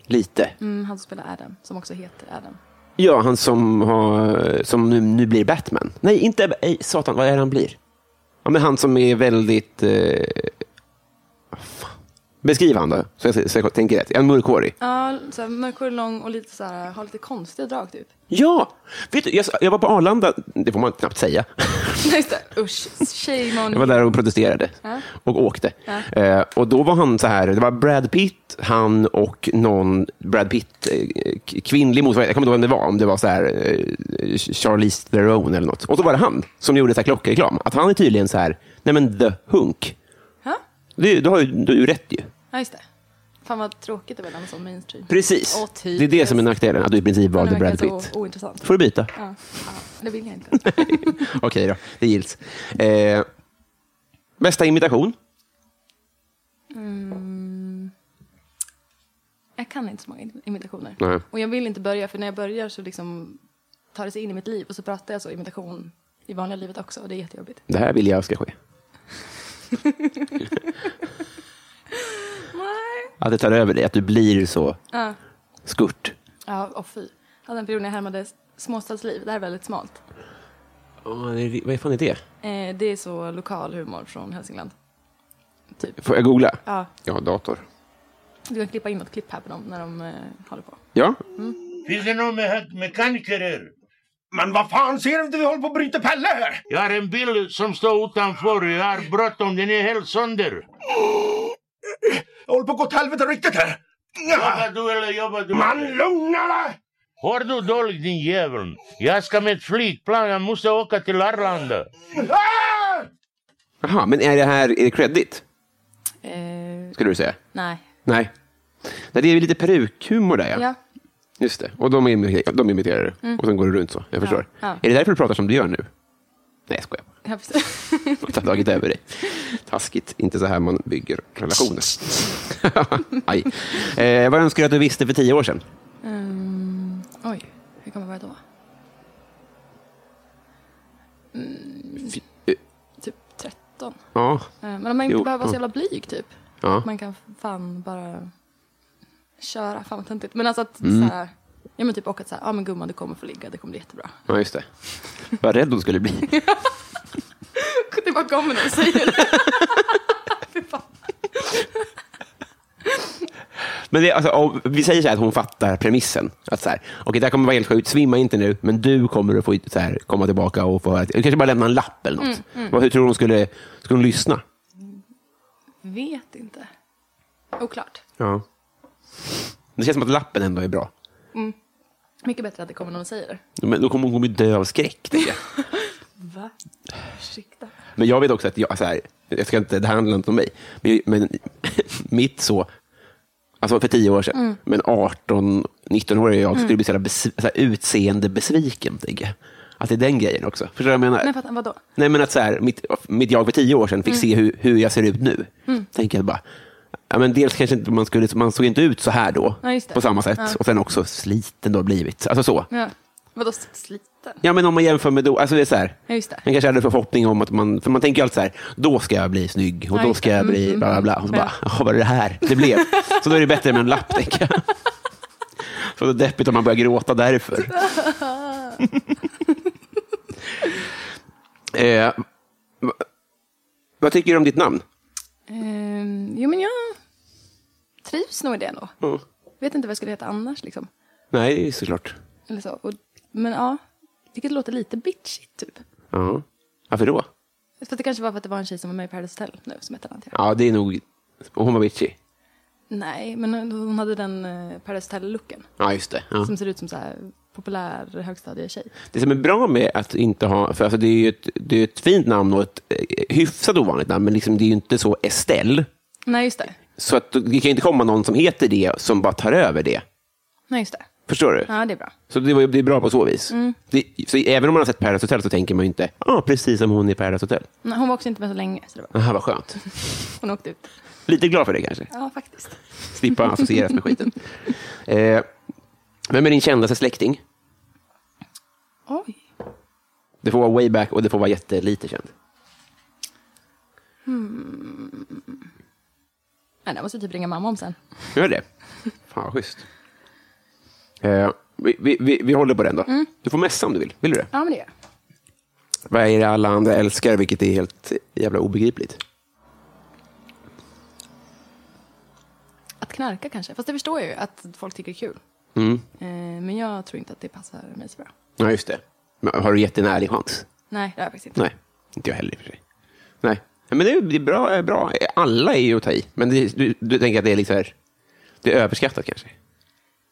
Speaker 1: Lite.
Speaker 2: Mm, han som spelar Adam, som också heter Adam.
Speaker 1: Ja, han som, har, som nu, nu blir Batman. Nej, inte... Ej, satan, vad är det han blir? Ja, men han som är väldigt... Eh, vad fan. Beskriv han då, så jag, så jag tänker rätt. En mörkhårig.
Speaker 2: Ja, så här, mörkhårig, lång och lite så här, har lite konstiga drag typ.
Speaker 1: Ja! Vet du, jag, jag var på Arlanda, det får man knappt säga.
Speaker 2: Nej, Just det, usch. Shame on
Speaker 1: Jag var där och protesterade
Speaker 2: Ja.
Speaker 1: och åkte.
Speaker 2: Ja.
Speaker 1: Eh, och då var han så här, det var Brad Pitt, han och någon Brad Pitt, eh, k- kvinnlig motsvarighet, jag kommer inte ihåg vem det var, om det var så här eh, Charlize Theron eller något. Och så var det han som gjorde så här klockreklam, att han är tydligen så här, nej men the hunk.
Speaker 2: Ja,
Speaker 1: Det, du har ju du har ju rätt ju.
Speaker 2: Ja, just det. Fan vad tråkigt det var när han var sån mainstream.
Speaker 1: Precis.
Speaker 2: Åh, typiskt.
Speaker 1: det är det som är nackdelen, att du i princip
Speaker 2: Han
Speaker 1: valde
Speaker 2: verkar
Speaker 1: Brad Pitt.
Speaker 2: så ointressant.
Speaker 1: får du byta.
Speaker 2: Ja, ja, det vill jag inte.
Speaker 1: Okej då, det gills. Eh, bästa imitation?
Speaker 2: Jag kan inte så många im- imitationer.
Speaker 1: Nej.
Speaker 2: Och jag vill inte börja, för när jag börjar så liksom tar det sig in i mitt liv och så pratar jag så imitation i vanliga livet också och det är jättejobbigt.
Speaker 1: Det här vill jag ska ske.
Speaker 2: Nej.
Speaker 1: Att det tar över dig, att du blir så skurt.
Speaker 2: Ja, och fy. Jag hade en period när jag härmade småstadsliv, det här är väldigt smalt.
Speaker 1: vad fan är det?
Speaker 2: Eh, det är så lokal humor från Hälsingland.
Speaker 1: Får jag googla?
Speaker 2: Ja,
Speaker 1: Jag har dator.
Speaker 2: du kan klippa in något klipp här på dem när de eh, håller på.
Speaker 1: Ja,
Speaker 3: Finns det någon med mekaniker här?
Speaker 4: Men vad fan, ser du inte vi håller på att bryta Pelle här?
Speaker 3: Jag har en bil som står utanför. Jag har bråttom, den är helt sönder.
Speaker 4: Jag håller på att gå åt helvete riktigt här.
Speaker 3: Jobbar du eller jobbar du?
Speaker 4: Man lugna dig!
Speaker 3: Hör du dåligt din jävel? Jag ska med flygplan, jag måste åka till Arlanda.
Speaker 4: Ah!
Speaker 1: Jaha, men är det här är det credit?
Speaker 2: Eh,
Speaker 1: Skulle du säga?
Speaker 2: nej.
Speaker 1: Nej. Nej, det är väl lite perukhumor där, ja.
Speaker 2: Ja. Mm.
Speaker 1: Just det. Och de, imiter- de imiterar det. Och sen går det runt så. Jag förstår.
Speaker 2: Ja.
Speaker 1: Är det därför du pratar som du gör nu? Nej, jag skojar. bara.
Speaker 2: Ja, precis.
Speaker 1: att ha tagit över dig. Taskigt. Inte så här man bygger relationer. Aj. Eh, vad önskar du att du visste för tio år sedan?
Speaker 2: Ehm, oj, hur kommer jag vara då?
Speaker 1: Fy- eh,
Speaker 2: Mm, Typ 13.
Speaker 1: Ja.
Speaker 2: Eh, Men om man inte
Speaker 1: Jo,
Speaker 2: behöver vara så
Speaker 1: ja.
Speaker 2: jävla blyg typ.
Speaker 1: ja.
Speaker 2: Man kan fan bara köra. Fan vad töntigt. Men alltså att
Speaker 1: Mm.
Speaker 2: så här, ja men typ och att så här, ja men gumman du kommer få ligga, det kommer bli jättebra.
Speaker 1: Ja, just det. Vad rädd hon skulle bli.
Speaker 2: Det bara kommer någon och säger det. Fy fan.
Speaker 1: Men det, alltså, om, vi säger så här att hon fattar premissen. Att så här, okej, det här kommer vara helt sjukt, svimma inte nu, men du kommer att få så här, komma tillbaka och få höra. Du kanske bara lämna en lapp eller något. Vad, hur tror du hon skulle, skulle hon lyssna?
Speaker 2: Vet inte. Oklart.
Speaker 1: Ja. Det känns som att lappen ändå är bra.
Speaker 2: Mycket bättre att det kommer någon och säger det.
Speaker 1: Men då kommer hon kommer ju dö av skräck. tänker Jag.
Speaker 2: Va? Ursäkta.
Speaker 1: Men jag vet också att jag, så här, jag ska inte, det här handlar inte om mig, men, men mitt så, alltså för tio år sedan, men 18, 19-årig jag skulle bli så jävla bes, så här, utseende besviken, tänker jag. Att det är den grejen också. Förstår du vad jag menar?
Speaker 2: Men fattar, vadå?
Speaker 1: Nej, men att så här, mitt, mitt jag för tio år sedan fick
Speaker 2: Mm.
Speaker 1: se hur, hur jag ser ut nu. Tänker jag bara. Ja, men dels kanske inte man, skulle, man såg inte ut så här då,
Speaker 2: Ja, just det.
Speaker 1: på samma sätt. Och sen också sliten då blivit. Alltså så.
Speaker 2: Ja. Vadå sliten?
Speaker 1: Ja, men om man jämför med då, alltså det är så här.
Speaker 2: Ja, just det.
Speaker 1: Man kanske hade förhoppning om att man, för man tänker ju alltid så här, då ska jag bli snygg och
Speaker 2: Ja,
Speaker 1: då
Speaker 2: just
Speaker 1: ska
Speaker 2: det.
Speaker 1: jag
Speaker 2: Mm,
Speaker 1: bli
Speaker 2: mm,
Speaker 1: bla bla bla. Och så
Speaker 2: ja.
Speaker 1: bara, "Jaha, vad är det här det blev? Så då är det bättre med en lapp, tänker jag. Så det är deppigt om man börjar gråta därför. eh, va- vad tycker du om ditt namn?
Speaker 2: Ehm, jo men jag trivs nog i det ändå. Vet inte vad jag skulle heta annars liksom.
Speaker 1: Nej, det är såklart.
Speaker 2: Eller så. Och, men ja, vilket låter lite bitchigt typ.
Speaker 1: Ja. Varför då?
Speaker 2: För det kanske var för att det var en tjej som var med i Paradise Hotel nu som hette någonting.
Speaker 1: Ja, det är nog... Och hon var bitchig.
Speaker 2: Nej, men hon hon hade den eh, Paradise Hotel-looken.
Speaker 1: Ja, just det. Ja.
Speaker 2: Som ser ut som så här populär högstadietjej.
Speaker 1: Det som är bra med att inte ha, för alltså det är ju ett, det är ett fint namn och ett eh, hyfsat ovanligt namn, men liksom det är ju inte så Estelle.
Speaker 2: Nej, just det.
Speaker 1: Så att det kan ju inte komma någon som heter det som bara tar över det.
Speaker 2: Nej, just det.
Speaker 1: Förstår du?
Speaker 2: Ja, det är bra.
Speaker 1: Så det, var, ju- det är bra på så vis. Det, så även om man har sett Paradise Hotel så tänker man ju inte, ja, ah, precis som hon i Paradise Hotel.
Speaker 2: Nej, Hon var också inte med så länge, så det var,
Speaker 1: Aha, vad skönt.
Speaker 2: hon åkte ut.
Speaker 1: Lite glad för det kanske.
Speaker 2: Ja, faktiskt.
Speaker 1: Slippa associeras med skiten. Eh, vem är din kändaste släkting?
Speaker 2: Oj.
Speaker 1: Det får vara way back och det får vara jättelite känd.
Speaker 2: Nej, det måste jag typ ringa mamma om sen.
Speaker 1: Gör det? Fan, vad schysst. Eh, vi, vi, vi, vi håller på den då. Du får mässa om du vill. Vill du det?
Speaker 2: Ja, men det gör jag.
Speaker 1: Vad är det alla andra älskar, vilket är helt jävla obegripligt?
Speaker 2: Att knarka kanske. Fast det förstår jag ju att folk tycker det är kul. Eh, Men jag tror inte att det passar mig så bra.
Speaker 1: Ja, just det. Men har du gett en ärlig chans?
Speaker 2: Nej, det har jag faktiskt inte.
Speaker 1: Nej, inte jag heller i och för sig. Nej, Ja, men det är det är bra. är bra. Alla är ju att ta i, men det, du, du tänker att det är lite så här, det är överskattat kanske?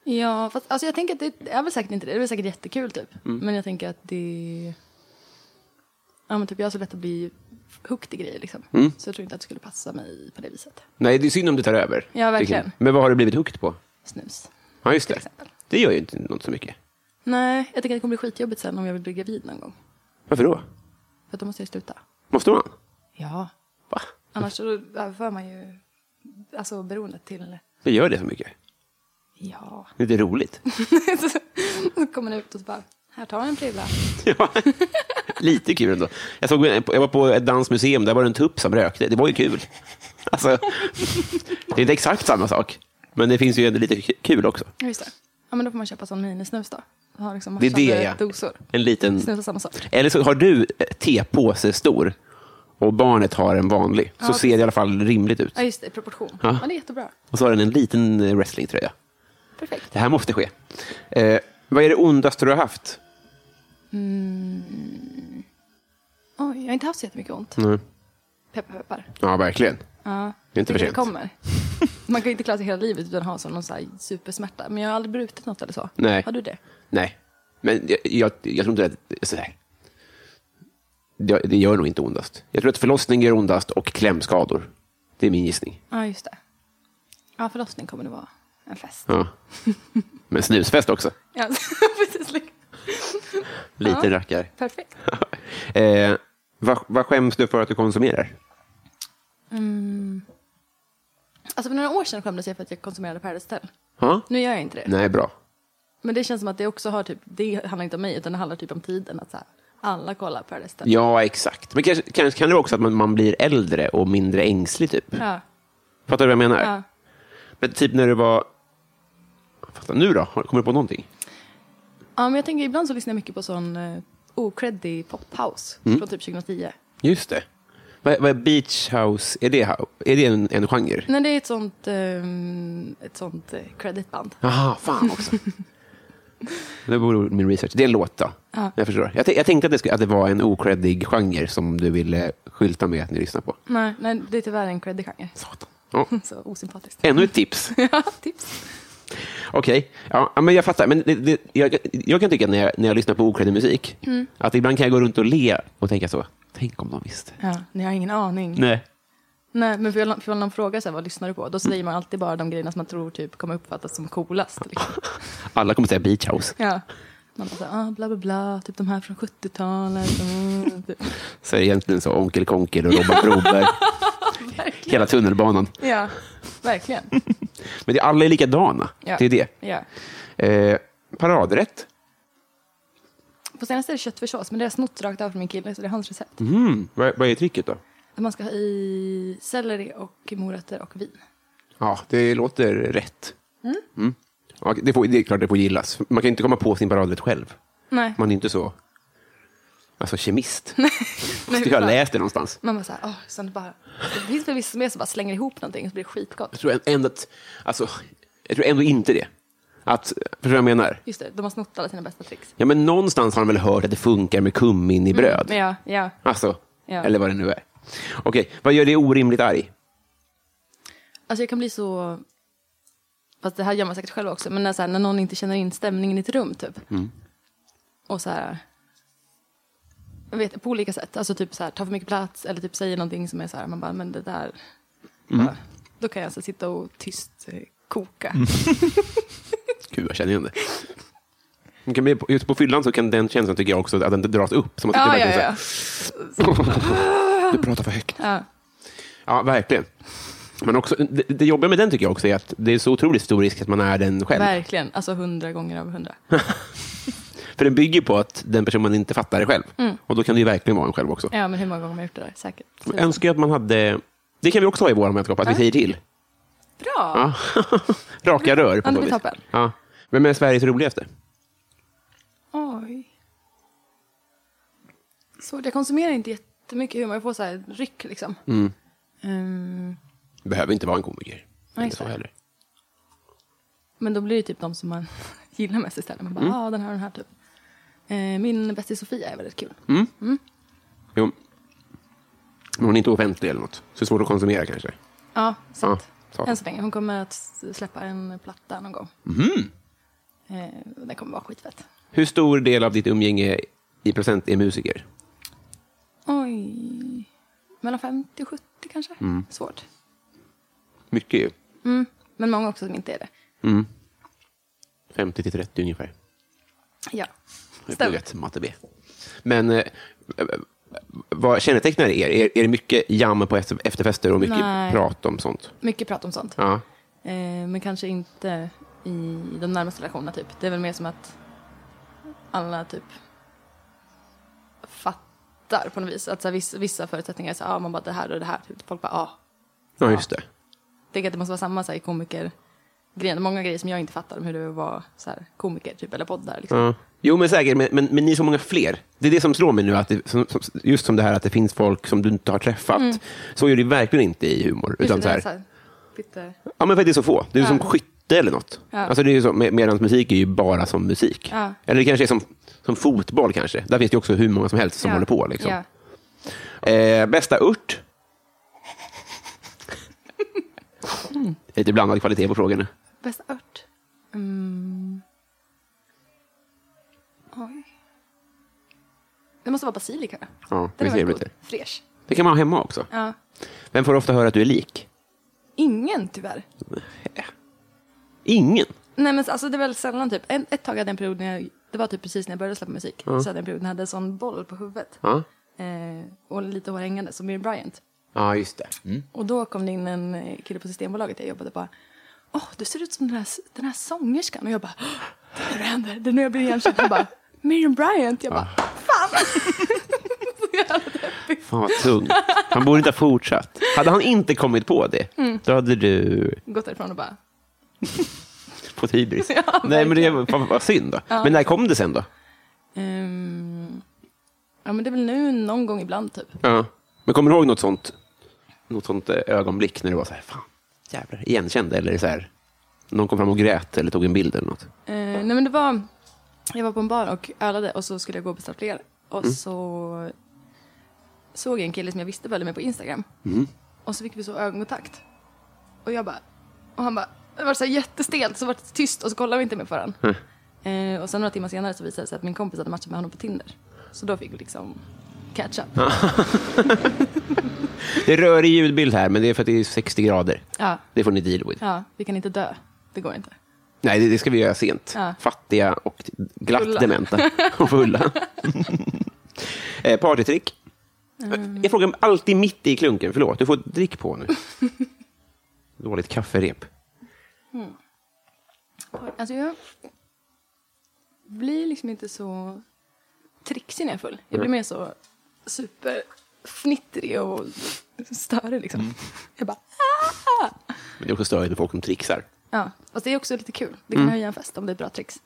Speaker 2: Ja, fast alltså jag tänker att det det är väl säkert inte det. Det är väl säkert jättekul typ. Men jag tänker att det... Ja men typ jag har så lätt att bli hooked i grejer liksom. Så jag tror inte att det skulle passa mig på det viset.
Speaker 1: Nej, det är synd om du tar över.
Speaker 2: Ja, verkligen.
Speaker 1: Men vad har du blivit hooked på?
Speaker 2: Snus.
Speaker 1: Ja, just det.
Speaker 2: exempel.
Speaker 1: Det gör ju inte något så mycket.
Speaker 2: Nej, jag tänker att det kommer bli skitjobbigt sen om jag vill bli gravid någon gång.
Speaker 1: Varför då?
Speaker 2: För att då måste jag sluta.
Speaker 1: Måste man?
Speaker 2: Ja.
Speaker 1: Va?
Speaker 2: Annars så överför man ju alltså beroendet till...
Speaker 1: Det gör det så mycket.
Speaker 2: Ja.
Speaker 1: Det är lite roligt.
Speaker 2: Så kommer det ut och så bara, här tar jag en prilla.
Speaker 1: Ja. Lite kul ändå. Jag, såg, jag var på ett dansmuseum, där var det en tupp som rökte. Det var ju kul. Alltså, det är inte exakt samma sak, men det finns ju ändå lite kul också.
Speaker 2: Ja, Just det. Ja men då får man köpa sån minisnus då. Ha liksom
Speaker 1: Det är det,
Speaker 2: matchande
Speaker 1: ja.
Speaker 2: dosor.
Speaker 1: En liten...
Speaker 2: Snusa samma sak.
Speaker 1: Eller så har du eh, tepåse stor och barnet har en vanlig, så
Speaker 2: Ja,
Speaker 1: ser det i alla fall rimligt ut.
Speaker 2: Ja just det, i proportion.
Speaker 1: Ja.
Speaker 2: Ja. det är jättebra.
Speaker 1: Och så har den en liten eh, wrestlingtröja.
Speaker 2: Perfekt.
Speaker 1: Det här måste ske. Eh, vad är det ondaste du har haft?
Speaker 2: Oj, jag har inte haft så jättemycket ont.
Speaker 1: Mm.
Speaker 2: Peppar peppar.
Speaker 1: Ja, verkligen.
Speaker 2: Ja.
Speaker 1: Det är inte för
Speaker 2: Det
Speaker 1: sent.
Speaker 2: kommer. Man kan ju inte klara sig hela livet utan att ha sån någon så här supersmärta. Men jag har aldrig brutit något eller så.
Speaker 1: Nej.
Speaker 2: Har du det?
Speaker 1: Nej, men jag, jag, jag tror inte att... Så här. Det, det gör nog inte ondast. Jag tror att förlossning gör ondast och klämskador. Det är min gissning.
Speaker 2: Ja, just det. Ja, förlossning kommer det vara en fest.
Speaker 1: Ja. Men snusfest också.
Speaker 2: Ja, precis.
Speaker 1: Lite rackare.
Speaker 2: Perfekt.
Speaker 1: Eh, Vad, vad skäms du för att du konsumerar?
Speaker 2: Alltså för några år sedan skämdes jag för att jag konsumerade Paradise Hotel.
Speaker 1: Ja?
Speaker 2: Nu gör jag inte det.
Speaker 1: Nej, bra.
Speaker 2: Men det känns som att det också har typ, det handlar inte om mig utan det handlar typ om tiden. Att så här, alla kollar på Paradise Hotel.
Speaker 1: Ja, exakt. Men kanske, kanske kan det vara också att man, man blir äldre och mindre ängslig, typ.
Speaker 2: Ja.
Speaker 1: Fattar du vad jag menar?
Speaker 2: ja.
Speaker 1: Men typ när du var... Fattar, nu då? Har- Kommer du på någonting?
Speaker 2: Ja, men jag tänker ibland så lyssnar jag mycket på sån eh, okreddig pophouse från typ 2010.
Speaker 1: Just det. Vad, vad är beach house? Är det, är det en, en genre?
Speaker 2: Nej, det är ett sånt, ehm, ett sånt eh, creditband.
Speaker 1: Jaha, fan också. det borde min research. Det är en låt då. Jag förstår. Jag, tän- jag tänkte att det, skulle, att det var en okreddig genre som du ville skylta med att ni lyssnar på.
Speaker 2: Nej, nej, det är tyvärr en creddig genre.
Speaker 1: Satan. Ja.
Speaker 2: Så osympatiskt.
Speaker 1: Ännu ett tips.
Speaker 2: ja, tips.
Speaker 1: Okej, ja, ja, men jag fattar. Men det, det, jag, jag kan tycka när jag, när jag lyssnar på okreddig musik att ibland kan jag gå runt och le och tänka så. Tänk om de visste.
Speaker 2: Ja, ni har ingen aning. Nej,
Speaker 1: Nej.
Speaker 2: men för jag- för någon frågar så här, vad lyssnar du på? Då säger man alltid bara de grejerna som man tror typ kommer uppfattas som coolast. Liksom.
Speaker 1: Alla kommer säga beach house.
Speaker 2: Ja. Man bara så här, ah, bla bla bla, typ de här från 70-talet. Mm, typ.
Speaker 1: Så är det egentligen så Onkel Konkel och Robban Broberg. Hela tunnelbanan.
Speaker 2: Ja, verkligen.
Speaker 1: Men det, alla är likadana.
Speaker 2: Ja.
Speaker 1: Det är det.
Speaker 2: Ja.
Speaker 1: Eh, paradrätt.
Speaker 2: På senaste är det köttfärssås, men det har jag snott rakt av från min kille, så det är hans recept.
Speaker 1: Mm. Vad, vad är tricket då?
Speaker 2: Att man ska ha i selleri och morötter och vin.
Speaker 1: Ja, det låter rätt. Mm. Ja, det, får, det är klart det får gillas. Man kan inte komma på sin paradrätt själv.
Speaker 2: Nej.
Speaker 1: Man är inte så alltså, kemist.
Speaker 2: Nej,
Speaker 1: Jag har
Speaker 2: fan.
Speaker 1: läst det någonstans.
Speaker 2: Man bara så här, åh, sen det bara... Det finns väl vissa som är så bara slänger ihop någonting och så blir det
Speaker 1: Jag
Speaker 2: skitgott.
Speaker 1: tror ändå, att, alltså, jag tror ändå inte det. Att, förstår du vad jag menar?
Speaker 2: Just det, de har snott alla sina bästa tricks.
Speaker 1: Ja, men någonstans har de väl hört att det funkar med kummin i bröd.
Speaker 2: Men Mm, ja, ja.
Speaker 1: Alltså,
Speaker 2: Ja.
Speaker 1: eller vad det nu är. Okej, vad gör dig orimligt arg?
Speaker 2: Alltså jag kan bli så... Fast det här gör man säkert själv också, men när, så här, när någon inte känner in stämningen i ett rum typ. Och så här... Jag vet, på olika sätt. Alltså typ så här, ta för mycket plats eller typ säger någonting som är så här, man bara, men det där... Bara, då kan jag alltså sitta och tyst eh, koka.
Speaker 1: Gud, jag känner igen det. Man kan bli, just på fyllan så kan den känslan, tycker jag också, att den dras upp. Så man
Speaker 2: Ja,
Speaker 1: sitter
Speaker 2: ja,
Speaker 1: verkligen
Speaker 2: ja.
Speaker 1: så här, Du pratar för högt.
Speaker 2: ja.
Speaker 1: Ja, verkligen. Men också, det, det jobbiga med den tycker jag också är att det är så otroligt stor risk att man är den själv.
Speaker 2: Verkligen, alltså hundra gånger av hundra.
Speaker 1: För den bygger på att den personen inte fattar det själv. Och då kan det ju verkligen vara en själv också.
Speaker 2: Mm. Ja, men hur många gånger har man gjort det där? Säkert.
Speaker 1: Jag önskar ju att man hade... Det kan vi också ha i vår vänskap, att vi säger till.
Speaker 2: Bra!
Speaker 1: Ja. Raka rör.
Speaker 2: Ja,
Speaker 1: På
Speaker 2: det
Speaker 1: så
Speaker 2: blir
Speaker 1: vis.
Speaker 2: toppen.
Speaker 1: Ja. Vem är Sveriges roligaste?
Speaker 2: Oj. Så jag konsumerar inte jättemycket humor. Jag får så här ryck liksom.
Speaker 1: Mm.
Speaker 2: Ehm,
Speaker 1: Behöver inte vara en komiker.
Speaker 2: Nej,
Speaker 1: Inte så
Speaker 2: exakt.
Speaker 1: heller.
Speaker 2: men då blir det typ de som man gillar mest istället. Man bara,
Speaker 1: Mm.
Speaker 2: ja ah, den här och den här typ. Eh, min bästis Sofia är väldigt kul.
Speaker 1: Mm. Jo. Men hon är inte offentlig eller något. Så det är svårt att konsumera kanske.
Speaker 2: Ja,
Speaker 1: Ja,
Speaker 2: sant.
Speaker 1: sant.
Speaker 2: Än så länge. Hon kommer att s- släppa en platta någon gång.
Speaker 1: Mhm.
Speaker 2: Eh, den kommer vara skitfett.
Speaker 1: Hur stor del av ditt umgänge i procent är musiker?
Speaker 2: Oj. Mellan 50 och 70 kanske.
Speaker 1: Mm.
Speaker 2: Svårt.
Speaker 1: Mycket ju.
Speaker 2: Men många också som inte är det.
Speaker 1: 50 till 30 ungefär.
Speaker 2: Ja.
Speaker 1: Jag
Speaker 2: Stämmer.
Speaker 1: pluggat matte B. Men eh, vad kännetecknar er? Är, är det mycket jam på efter- efterfester och mycket
Speaker 2: Nej.
Speaker 1: prat om sånt?
Speaker 2: Mycket prat om sånt.
Speaker 1: Ja.
Speaker 2: Eh, men kanske inte i de närmaste relationerna typ. Det är väl mer som att alla typ fattar på något vis. Att så här, vissa, vissa förutsättningar är så här, ah, man bara det här och det här. Typ. Folk bara, ja. Ah.
Speaker 1: ja, just det.
Speaker 2: Tänker att det måste vara samma så här, i komiker grejen. Många grejer som jag inte fattar om hur det är att vara så här, komiker typ, eller poddar. Liksom.
Speaker 1: Ja. Jo, men säkert. Men, men, men ni är så många fler. Det är det som slår mig nu. Att det, som, som, just som det här att det finns folk som du inte har träffat. Så är det verkligen inte i humor.
Speaker 2: Mm. Just
Speaker 1: Utan
Speaker 2: det,
Speaker 1: så här,
Speaker 2: det är så här, bitter.
Speaker 1: Ja, men för att det är så få. Det är som skytte eller något.
Speaker 2: Ja.
Speaker 1: Alltså, det är ju så, med, medans musik är ju bara som musik.
Speaker 2: Ja.
Speaker 1: Eller det kanske är som, som fotboll. kanske. Där finns det ju också hur många som helst som
Speaker 2: Ja.
Speaker 1: håller på. Liksom.
Speaker 2: Ja.
Speaker 1: Eh, bästa ört? Lite blandad kvalitet på frågorna.
Speaker 2: Bästa ört? Mm. Oj. Det måste vara basilika.
Speaker 1: Ja,
Speaker 2: Den
Speaker 1: vi
Speaker 2: är
Speaker 1: ser
Speaker 2: väldigt
Speaker 1: lite.
Speaker 2: god. Fräsch.
Speaker 1: Det kan man ha hemma också.
Speaker 2: Ja.
Speaker 1: Vem får ofta höra att du är lik?
Speaker 2: Ingen tyvärr.
Speaker 1: Ingen.
Speaker 2: Nej men alltså det är väl sällan typ. En, ett tag hade jag en period när jag, det var typ precis när jag började släppa musik. Så hade jag en period när jag hade en sån boll på huvudet.
Speaker 1: Ja.
Speaker 2: eh, och lite hår hängande, som Miriam Bryant.
Speaker 1: Ja, just det. Mm.
Speaker 2: Och då kom det in en eh, kille på Systembolaget jag jobbade på. Åh, du ser ut som den här, den här sångerskan. Och jag bara, "Åh, det är det händer. Det är nu jag blir igenkänd. Han bara, Miriam Bryant. Jag bara, fan! Så jävla deppigt.
Speaker 1: Fan vad tungt. Han borde inte ha fortsatt. Hade han inte kommit på det,
Speaker 2: Mm.
Speaker 1: då hade du
Speaker 2: Gått därifrån och bara,
Speaker 1: fått hybris. Nej, men det var fan, vad synd då. Men när kom det sen då?
Speaker 2: ehm, ja men det är väl nu någon gång ibland typ.
Speaker 1: Ja. Men kommer du ihåg något sånt, något sånt eh, ögonblick när du var så här, fan, jävlar, igenkänd? Eller så här, någon kom fram och grät eller tog en bild eller något?
Speaker 2: Eh, nej men det var, jag var på en bar och ölade och så skulle jag gå och beställa fler. Och så såg jag en kille som jag visste följde mig på Instagram. Och så fick vi så ögonkontakt. Och jag bara, och han bara, det var så här jättestelt så var det tyst och så kollade vi inte mer på varandra. Eh, och sen några timmar senare så visade det sig att min kompis hade matchat med honom på Tinder. Så då fick vi liksom catch up.
Speaker 1: Det rör i ljudbild här, men det är för att det är 60 grader.
Speaker 2: Ja,
Speaker 1: Det får ni deal with.
Speaker 2: ja, vi kan inte dö. Det går inte.
Speaker 1: Nej, det, det ska vi göra sent.
Speaker 2: Ja.
Speaker 1: Fattiga och glatt
Speaker 2: Fulla.
Speaker 1: dementa. Och fulla. eh, partytrick.
Speaker 2: Mm.
Speaker 1: Jag frågar alltid mitt i klunken. Förlåt, du får drick på nu. Dåligt kafferep.
Speaker 2: Alltså jag blir liksom inte så trixig när jag är full. Jag blir mer så superfnittrig och störig liksom. Jag bara,
Speaker 1: Men det är också störigt med folk som trixar.
Speaker 2: ja. Fast det är också lite kul. Det kan höja en fest om det är ett bra tricks.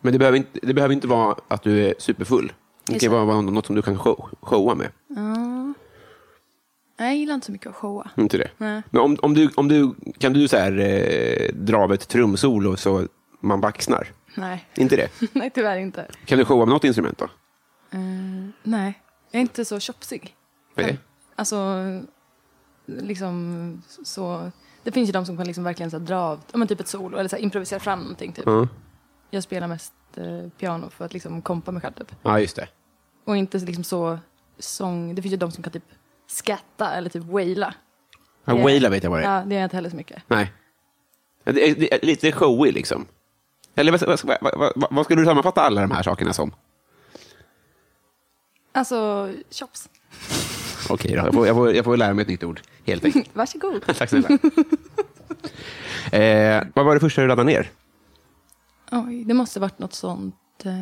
Speaker 1: Men det behöver inte, det behöver inte vara att du är superfull. Det
Speaker 2: Just
Speaker 1: kan
Speaker 2: det.
Speaker 1: vara vara något som du kan show, showa med.
Speaker 2: Nej, jag gillar inte så mycket att showa.
Speaker 1: Mm, Inte det?
Speaker 2: Nej.
Speaker 1: Men om, om du, om du, kan du så här, eh, dra av ett trumsolo så man baxnar?
Speaker 2: Nej,
Speaker 1: Inte det?
Speaker 2: nej tyvärr inte.
Speaker 1: Kan du showa med något instrument då?
Speaker 2: Eh, nej, jag är inte så tjopsig.
Speaker 1: Nej.
Speaker 2: Alltså, liksom så... Det finns ju de som kan liksom verkligen så här dra av, ja, men typ ett solo eller så här improvisera fram någonting typ.
Speaker 1: Ja,
Speaker 2: Jag spelar mest eh, piano för att liksom kompa mig själv typ.
Speaker 1: ja just det.
Speaker 2: Och inte så- liksom så sång... Det finns ju de som kan typ skatta eller typ waila.
Speaker 1: Ja,
Speaker 2: Ja.
Speaker 1: Waila vet jag vad det är.
Speaker 2: Ja, det gör jag inte heller så mycket.
Speaker 1: Nej. Ja, Det är, det är lite showy liksom. Eller vad, vad, vad, vad, vad skulle du sammanfatta alla de här sakerna som?
Speaker 2: Alltså, chops.
Speaker 1: Okej då, jag får, jag, får, jag får lära mig ett nytt ord helt enkelt.
Speaker 2: Varsågod.
Speaker 1: Tack snälla. eh, vad var det första du laddade ner?
Speaker 2: Oj, det måste varit något sånt... Eh,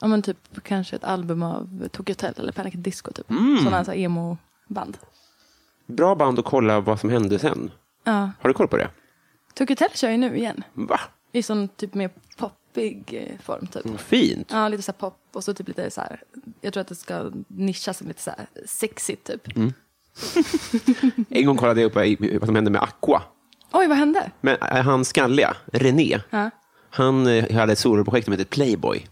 Speaker 2: ja, men typ kanske ett album av Tokyo Hotel eller Panic at Disco typ. Sådana så här emo-band.
Speaker 1: Bra band att kolla vad som hände sen.
Speaker 2: Ja,
Speaker 1: Har du koll på det?
Speaker 2: Tokyo Hotel kör ju nu igen.
Speaker 1: Va?
Speaker 2: I sån typ mer poppig eh, form typ.
Speaker 1: Vad fint.
Speaker 2: Ja, lite så här pop och så typ lite så här. Jag tror att det ska nischas som lite så här sexigt typ.
Speaker 1: Mm. En gång kollade jag upp vad i- vad som hände med Aqua.
Speaker 2: Oj, vad hände?
Speaker 1: Men eh, han skalliga, René,
Speaker 2: Ja.
Speaker 1: han eh, hade ett soloprojekt som hette Playboy.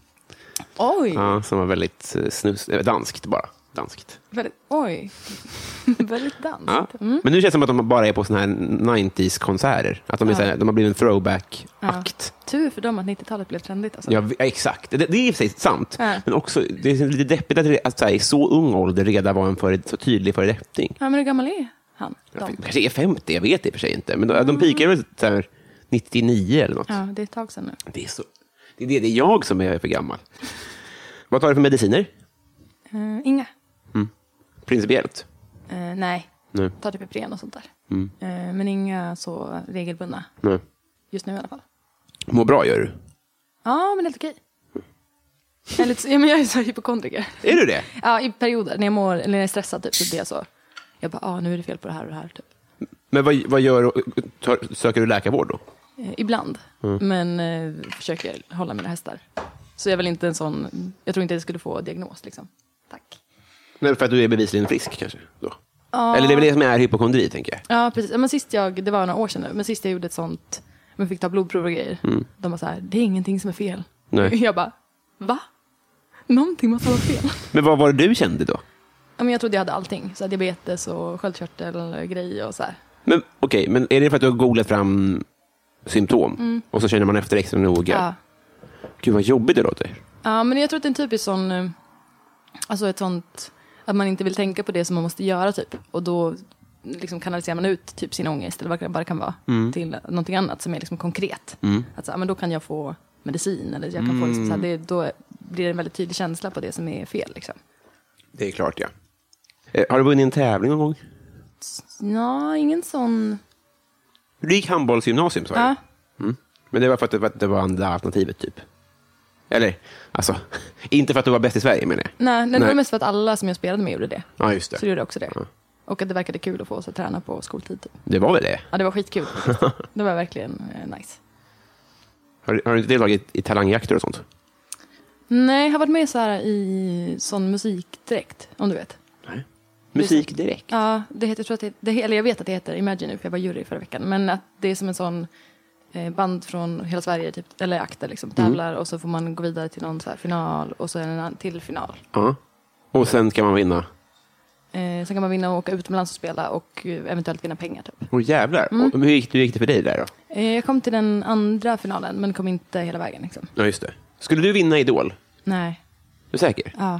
Speaker 2: Oj,
Speaker 1: Ja, som var väldigt eh, snus, eh, danskt bara. Danskt.
Speaker 2: väldigt, oj. väldigt dans.
Speaker 1: Ja.
Speaker 2: Mm.
Speaker 1: Men nu känns det som att de bara är på såna här 90s-konserter. Att de, är så här, de har blivit en throwback-akt.
Speaker 2: Tur för dem att 90-talet blev trendigt alltså.
Speaker 1: Ja, vi- ja, exakt. Det, det är i och för sig sant.
Speaker 2: Ja.
Speaker 1: Men också, det är lite deppigt att, det- att så här, i så ung ålder redan vara en före, så tydlig föredetting.
Speaker 2: Ja, men hur gammal är han?
Speaker 1: De
Speaker 2: De?
Speaker 1: kanske är 50, jag vet i och för sig inte. Men de, de pikar väl så här, 99 eller något.
Speaker 2: Ja, det är ett tag sedan nu.
Speaker 1: Det, är så, det, är det, det är jag som är för gammal. Vad tar du för mediciner?
Speaker 2: Eh, inga?
Speaker 1: Principiellt?
Speaker 2: Eh, nej,
Speaker 1: Nej. Mm.
Speaker 2: tar typ Ipren och sånt där. Eh, men inga så regelbundna,
Speaker 1: Nej.
Speaker 2: just nu i alla fall.
Speaker 1: Mm. Mår bra gör du.
Speaker 2: Ja, men helt okej.
Speaker 1: Mm.
Speaker 2: Jag är lite så- Ja, men jag är så här hypokondriker.
Speaker 1: Är du det?
Speaker 2: Ja, i perioder, när jag, mår, eller när jag är stressad typ, så blir jag så. Jag bara, ah, nu är det fel på det här och det här typ.
Speaker 1: Men vad, vad gör du? Tar- Söker du läkarvård då?
Speaker 2: Eh, Ibland. Men eh, försöker hålla mina hästar. Så jag är väl inte en sån... Jag tror inte jag skulle få diagnos. Liksom. Tack.
Speaker 1: Nej, för att du är bevisligen frisk kanske? Då. Eller det är väl det som är hypokondri, tänker jag.
Speaker 2: Ja, precis. Ja, Men sist jag, det var några år sedan nu, men sist jag gjorde ett sånt... Men fick ta blodprov och grejer. De var så här, det är ingenting som är fel.
Speaker 1: Nej.
Speaker 2: Jag bara, va? Någonting måste vara fel.
Speaker 1: Men vad var det du kände då?
Speaker 2: ja, men jag trodde jag hade allting. Så här, diabetes och sköldkörtelgrejer och så här.
Speaker 1: Men okej, men är det för att du har googlat fram symptom och så känner man efter extra noga?
Speaker 2: Mm. Ja.
Speaker 1: Gud vad jobbigt det låter.
Speaker 2: Ja, men jag tror att det är en typisk sån... eh, Alltså ett sånt... Att man inte vill tänka på det som man måste göra typ. Och då liksom kanaliserar man ut typ sin ångest eller vad det bara kan vara.
Speaker 1: Mm.
Speaker 2: Till någonting
Speaker 1: Mm.
Speaker 2: annat som är liksom konkret. Att så, här, men då kan jag få medicin eller jag kan få liksom så här, det, då, blir det en väldigt tydlig känsla på det som är fel. Liksom.
Speaker 1: Det är klart, ja. Eh, Har du vunnit en tävling någon gång?
Speaker 2: Ja, ingen sån...
Speaker 1: Du gick handbollsgymnasium, sa
Speaker 2: Ja,
Speaker 1: du? Men det var för att det var, det var andra alternativet, typ? Eller, alltså, inte för att du var bäst i Sverige, menar jag.
Speaker 2: nej, nej, det
Speaker 1: Nej.
Speaker 2: var mest för att alla som jag spelade med gjorde det.
Speaker 1: Ja, just
Speaker 2: Så
Speaker 1: det.
Speaker 2: det gjorde jag också det. Och att det verkade kul att få oss att träna på skoltid. Typ.
Speaker 1: Det var väl det?
Speaker 2: Ja, det var skitkul. det var verkligen eh, nice.
Speaker 1: Har, du- har du inte deltagit i talangjakter och sånt?
Speaker 2: Nej, jag har varit med så här i sån musikdräkt, om du vet.
Speaker 1: Musik direkt?
Speaker 2: Ja, det heter, jag, tror att det, det, eller jag vet att det heter Imagine nu, för jag var jury förra veckan. Men att det är som en sån eh, band från hela Sverige, typ, eller akter, liksom, tävlar och så får man gå vidare till någon så här final och så en annan till final.
Speaker 1: Ja. Och sen kan man vinna?
Speaker 2: Eh, sen kan man vinna och åka utomlands och spela och eh, eventuellt vinna pengar. Typ.
Speaker 1: Åh jävlar. Och hur, gick, hur gick det för dig där då?
Speaker 2: Eh, jag kom till den andra finalen, men kom inte hela vägen. Liksom.
Speaker 1: Ja, just det. Skulle du vinna Idol? Är
Speaker 2: Nej,
Speaker 1: du säker?
Speaker 2: ja.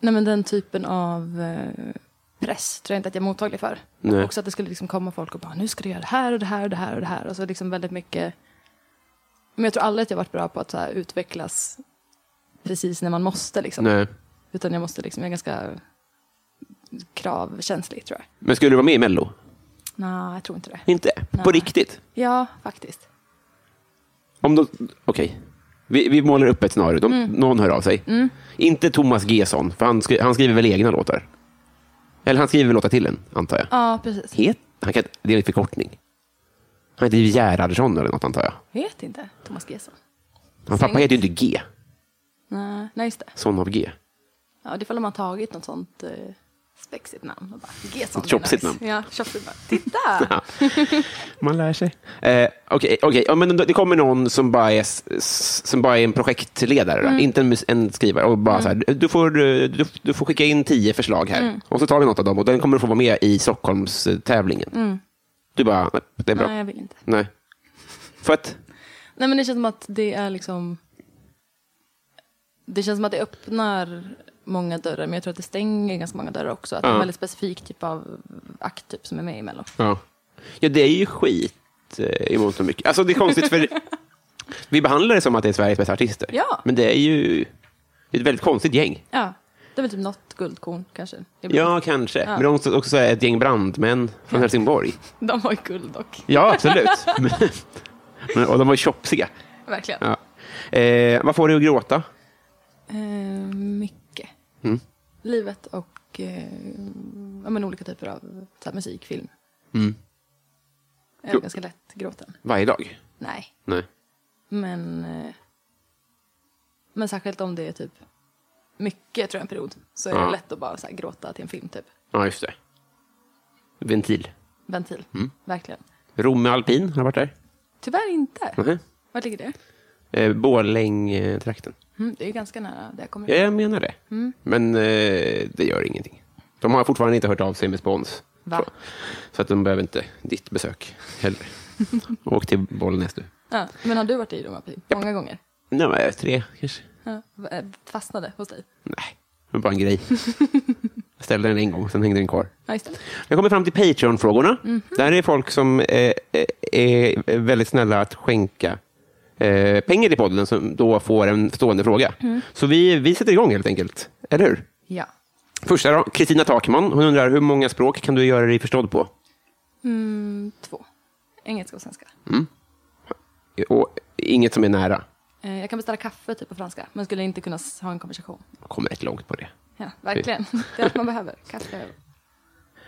Speaker 2: Nej, men den typen av eh, press tror jag inte att jag är mottaglig för.
Speaker 1: Nej.
Speaker 2: Också att det skulle liksom komma folk och bara, nu ska du göra det här och det här och det här och det här. Och så liksom väldigt mycket. Men jag tror aldrig att jag varit bra på att så här, utvecklas precis när man måste. Liksom.
Speaker 1: Nej.
Speaker 2: Utan jag måste liksom, jag är ganska kravkänslig tror jag.
Speaker 1: Men skulle du vara med i Mello?
Speaker 2: Nej, jag tror inte det.
Speaker 1: Inte? På riktigt?
Speaker 2: Ja, faktiskt.
Speaker 1: Om de, okej. Vi, vi målar upp ett scenario. De, Någon hör av sig. Inte Thomas Gesson, för han, skri, han skriver väl egna låtar? Eller han skriver väl låtar till en, antar jag?
Speaker 2: Ja, precis.
Speaker 1: Het? Han kan, det är en förkortning. Han heter Gerhardsson eller något, antar jag.
Speaker 2: Vet inte, Thomas Gesson.
Speaker 1: Hans pappa heter ju inte G.
Speaker 2: Nej, nej, just det.
Speaker 1: Son av G.
Speaker 2: Ja, det är ifall de har tagit något sånt eh, spexigt namn. Och bara, Gesson,
Speaker 1: Ett tjofsigt
Speaker 2: nice.
Speaker 1: namn.
Speaker 2: Ja, tjofsigt namn. Titta!
Speaker 1: Man lär sig. Eh, Okej, okej. ja, men det kommer någon som bara är, s- s- som bara är en projektledare,
Speaker 2: Mm.
Speaker 1: då, inte en, mus- en skrivare. Och bara så här, du, får, eh, du, du får skicka in tio förslag här.
Speaker 2: Mm.
Speaker 1: Och så tar vi något av dem och den kommer du få vara med i Stockholmstävlingen. Du bara, nej, det är bra.
Speaker 2: Mm. Nej,
Speaker 1: Nej.
Speaker 2: jag vill inte.
Speaker 1: För att,
Speaker 2: Nej men det känns som att det är liksom... Det känns som att det öppnar många dörrar, men jag tror att det stänger ganska många dörrar också. Att det är en väldigt specifik typ av akt typ, som är med i Mello.
Speaker 1: ja. ja, det är ju skit eh, i mångt och mycket. Alltså det är konstigt för vi behandlar det som att det är Sveriges bästa artister.
Speaker 2: Ja.
Speaker 1: Men det är ju det är ett väldigt konstigt gäng.
Speaker 2: Ja, det är väl typ något guldkorn kanske. Det är väl-
Speaker 1: Ja, kanske. Men de är också ett gäng brandmän från Helsingborg.
Speaker 2: De har ju guld dock,
Speaker 1: Ja, absolut. Men- Men, och de var ju tjopsiga.
Speaker 2: verkligen.
Speaker 1: Ja. Eh, vad får du att gråta?
Speaker 2: Eh, mycket.
Speaker 1: Mm.
Speaker 2: Livet och eh, ja, men olika typer av så här, musik, film. Jag är
Speaker 1: Mm. Jo.
Speaker 2: ganska lätt gråten.
Speaker 1: Varje dag?
Speaker 2: Nej.
Speaker 1: Nej.
Speaker 2: Men, eh, men särskilt om det är typ mycket tror jag en period så är det
Speaker 1: Ja.
Speaker 2: lätt att bara så här, gråta till en film typ.
Speaker 1: Ja, just det. Ventil.
Speaker 2: Ventil,
Speaker 1: Mm.
Speaker 2: verkligen.
Speaker 1: Romme alpin, har du varit där?
Speaker 2: Tyvärr inte.
Speaker 1: Nej.
Speaker 2: Var ligger det?
Speaker 1: Eh, Borlänge-trakten.
Speaker 2: Mm, det är ju ganska nära där jag kommer
Speaker 1: Ja, jag menar det. Men eh, det gör ingenting. De har fortfarande inte hört av sig med spons.
Speaker 2: Va?
Speaker 1: Så, så att de behöver inte ditt besök heller. Åk till Bollnäs du.
Speaker 2: Ja, men har du varit i Roma Pi? Många gånger?
Speaker 1: Nej, men, tre kanske.
Speaker 2: Ja, v- eh, fastnade hos dig?
Speaker 1: Nej, det var bara en grej. Jag ställde den en gång, sen hängde den kvar.
Speaker 2: Ja, just det.
Speaker 1: Jag kommer fram till Patreon-frågorna. Där är folk som eh, eh, är väldigt snälla att skänka eh, pengar i podden som då får en stående fråga. Så vi, vi sätter igång helt enkelt, eller hur?
Speaker 2: Ja.
Speaker 1: Första då, Kristina Takman. Hon undrar hur många språk kan du göra dig förstådd på?
Speaker 2: Mm, två. Engelska och svenska.
Speaker 1: Och inget som är nära.
Speaker 2: Eh, Jag kan beställa kaffe typ på franska, men skulle inte kunna s- ha en konversation.
Speaker 1: Kommer rätt långt på det.
Speaker 2: Ja, verkligen. Det är allt man behöver. Kaffe.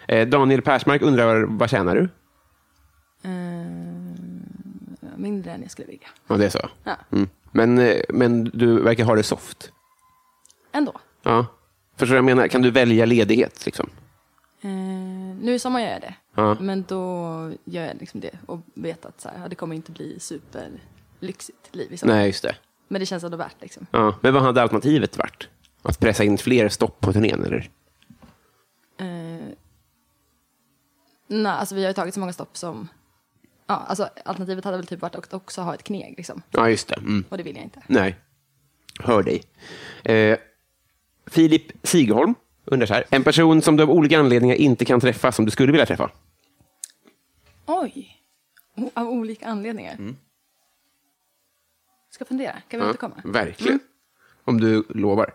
Speaker 1: Eh, Daniel Persmark undrar, vad tjänar du?
Speaker 2: Eh, mindre än jag skulle vilja.
Speaker 1: Ja, det är så.
Speaker 2: Ja.
Speaker 1: Mm. Men, eh, men du verkar ha det soft.
Speaker 2: Ändå.
Speaker 1: Ja. Förstår du vad jag menar? Kan du välja ledighet? Liksom?
Speaker 2: Eh, nu i sommar gör jag det.
Speaker 1: Ja.
Speaker 2: Men då gör jag liksom det och vet att så här, ja, det kommer inte bli superlyxigt liv i sommar.
Speaker 1: Nej, just det.
Speaker 2: Men det känns ändå värt liksom.
Speaker 1: Ja. Men vad hade alternativet varit? Att pressa in fler stopp på turnén, eller?
Speaker 2: Eh, nej, alltså vi har ju tagit så många stopp som... Ja, alltså alternativet hade väl typ varit att också ha ett kneg liksom.
Speaker 1: Ja, just det. Mm.
Speaker 2: Och det vill jag inte.
Speaker 1: Nej. Hör dig. Eh, Filip Sigholm undrar så här. En person som du av olika anledningar inte kan träffa, som du skulle vilja träffa?
Speaker 2: Oj! O- av olika anledningar.
Speaker 1: Mm.
Speaker 2: Ska fundera. Kan vi återkomma?
Speaker 1: verkligen. Mm. Om du lovar.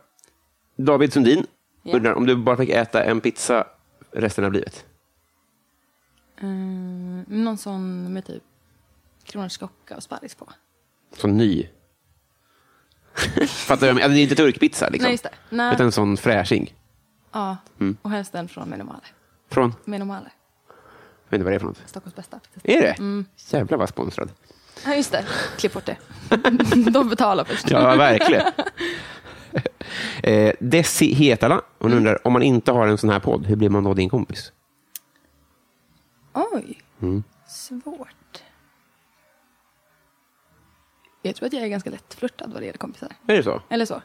Speaker 1: David Sundin
Speaker 2: Ja.
Speaker 1: undrar om du bara fick äta en pizza resten av livet?
Speaker 2: Eh, någon sån med typ kronärtskocka och sparris på.
Speaker 1: Som ny. Fattar du? vad jag menar? Alltså, det är inte turkpizza. Liksom.
Speaker 2: Nej, just det. Nej.
Speaker 1: Utan en sån fräsching.
Speaker 2: Ja, och helst en från Menomale.
Speaker 1: Från, jag
Speaker 2: Menomale,
Speaker 1: vet inte vad det är för något.
Speaker 2: Stockholms bästa. faktiskt.
Speaker 1: Är det?
Speaker 2: Mm.
Speaker 1: Jävlar vad sponsrad.
Speaker 2: Ja, just det. Klipp bort det. De betalar först.
Speaker 1: Ja, verkligen. eh, Desi Hetala, hon
Speaker 2: Mm.
Speaker 1: undrar, om man inte har en sån här podd, hur blir man då din kompis?
Speaker 2: Oj. Svårt. Jag tror att jag är ganska lättflörtad vad det gäller kompisar.
Speaker 1: Är det så?
Speaker 2: Eller så.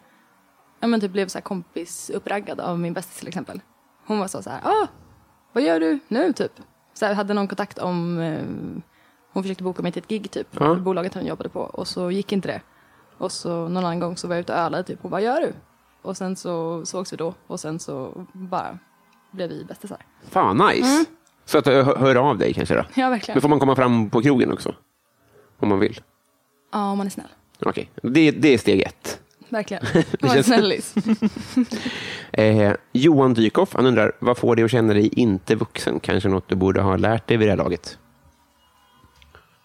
Speaker 2: Ja, men typ blev så här kompis uppraggad av min bästis till exempel. Hon var så så här, ah, vad gör du nu typ? Så här, hade någon kontakt om, eh, hon försökte boka mig till ett gig typ, för bolaget hon jobbade på och så gick inte det. Och så någon annan gång så var jag ute och ölade typ, hon bara, gör du? Och sen så sågs vi då och sen så bara blev vi bästisar.
Speaker 1: Fan, nice. Så att du hör hör av dig kanske då?
Speaker 2: Mm. Ja, verkligen.
Speaker 1: Då får man komma fram på krogen också. Om man vill.
Speaker 2: Ja, om man är snäll.
Speaker 1: Okej, det, det är steg ett.
Speaker 2: Verkligen. Om man är
Speaker 1: känns-
Speaker 2: snällis.
Speaker 1: Eh, Johan Dykhoff, han undrar, vad får dig att känna dig inte vuxen? Kanske något du borde ha lärt dig vid det här laget?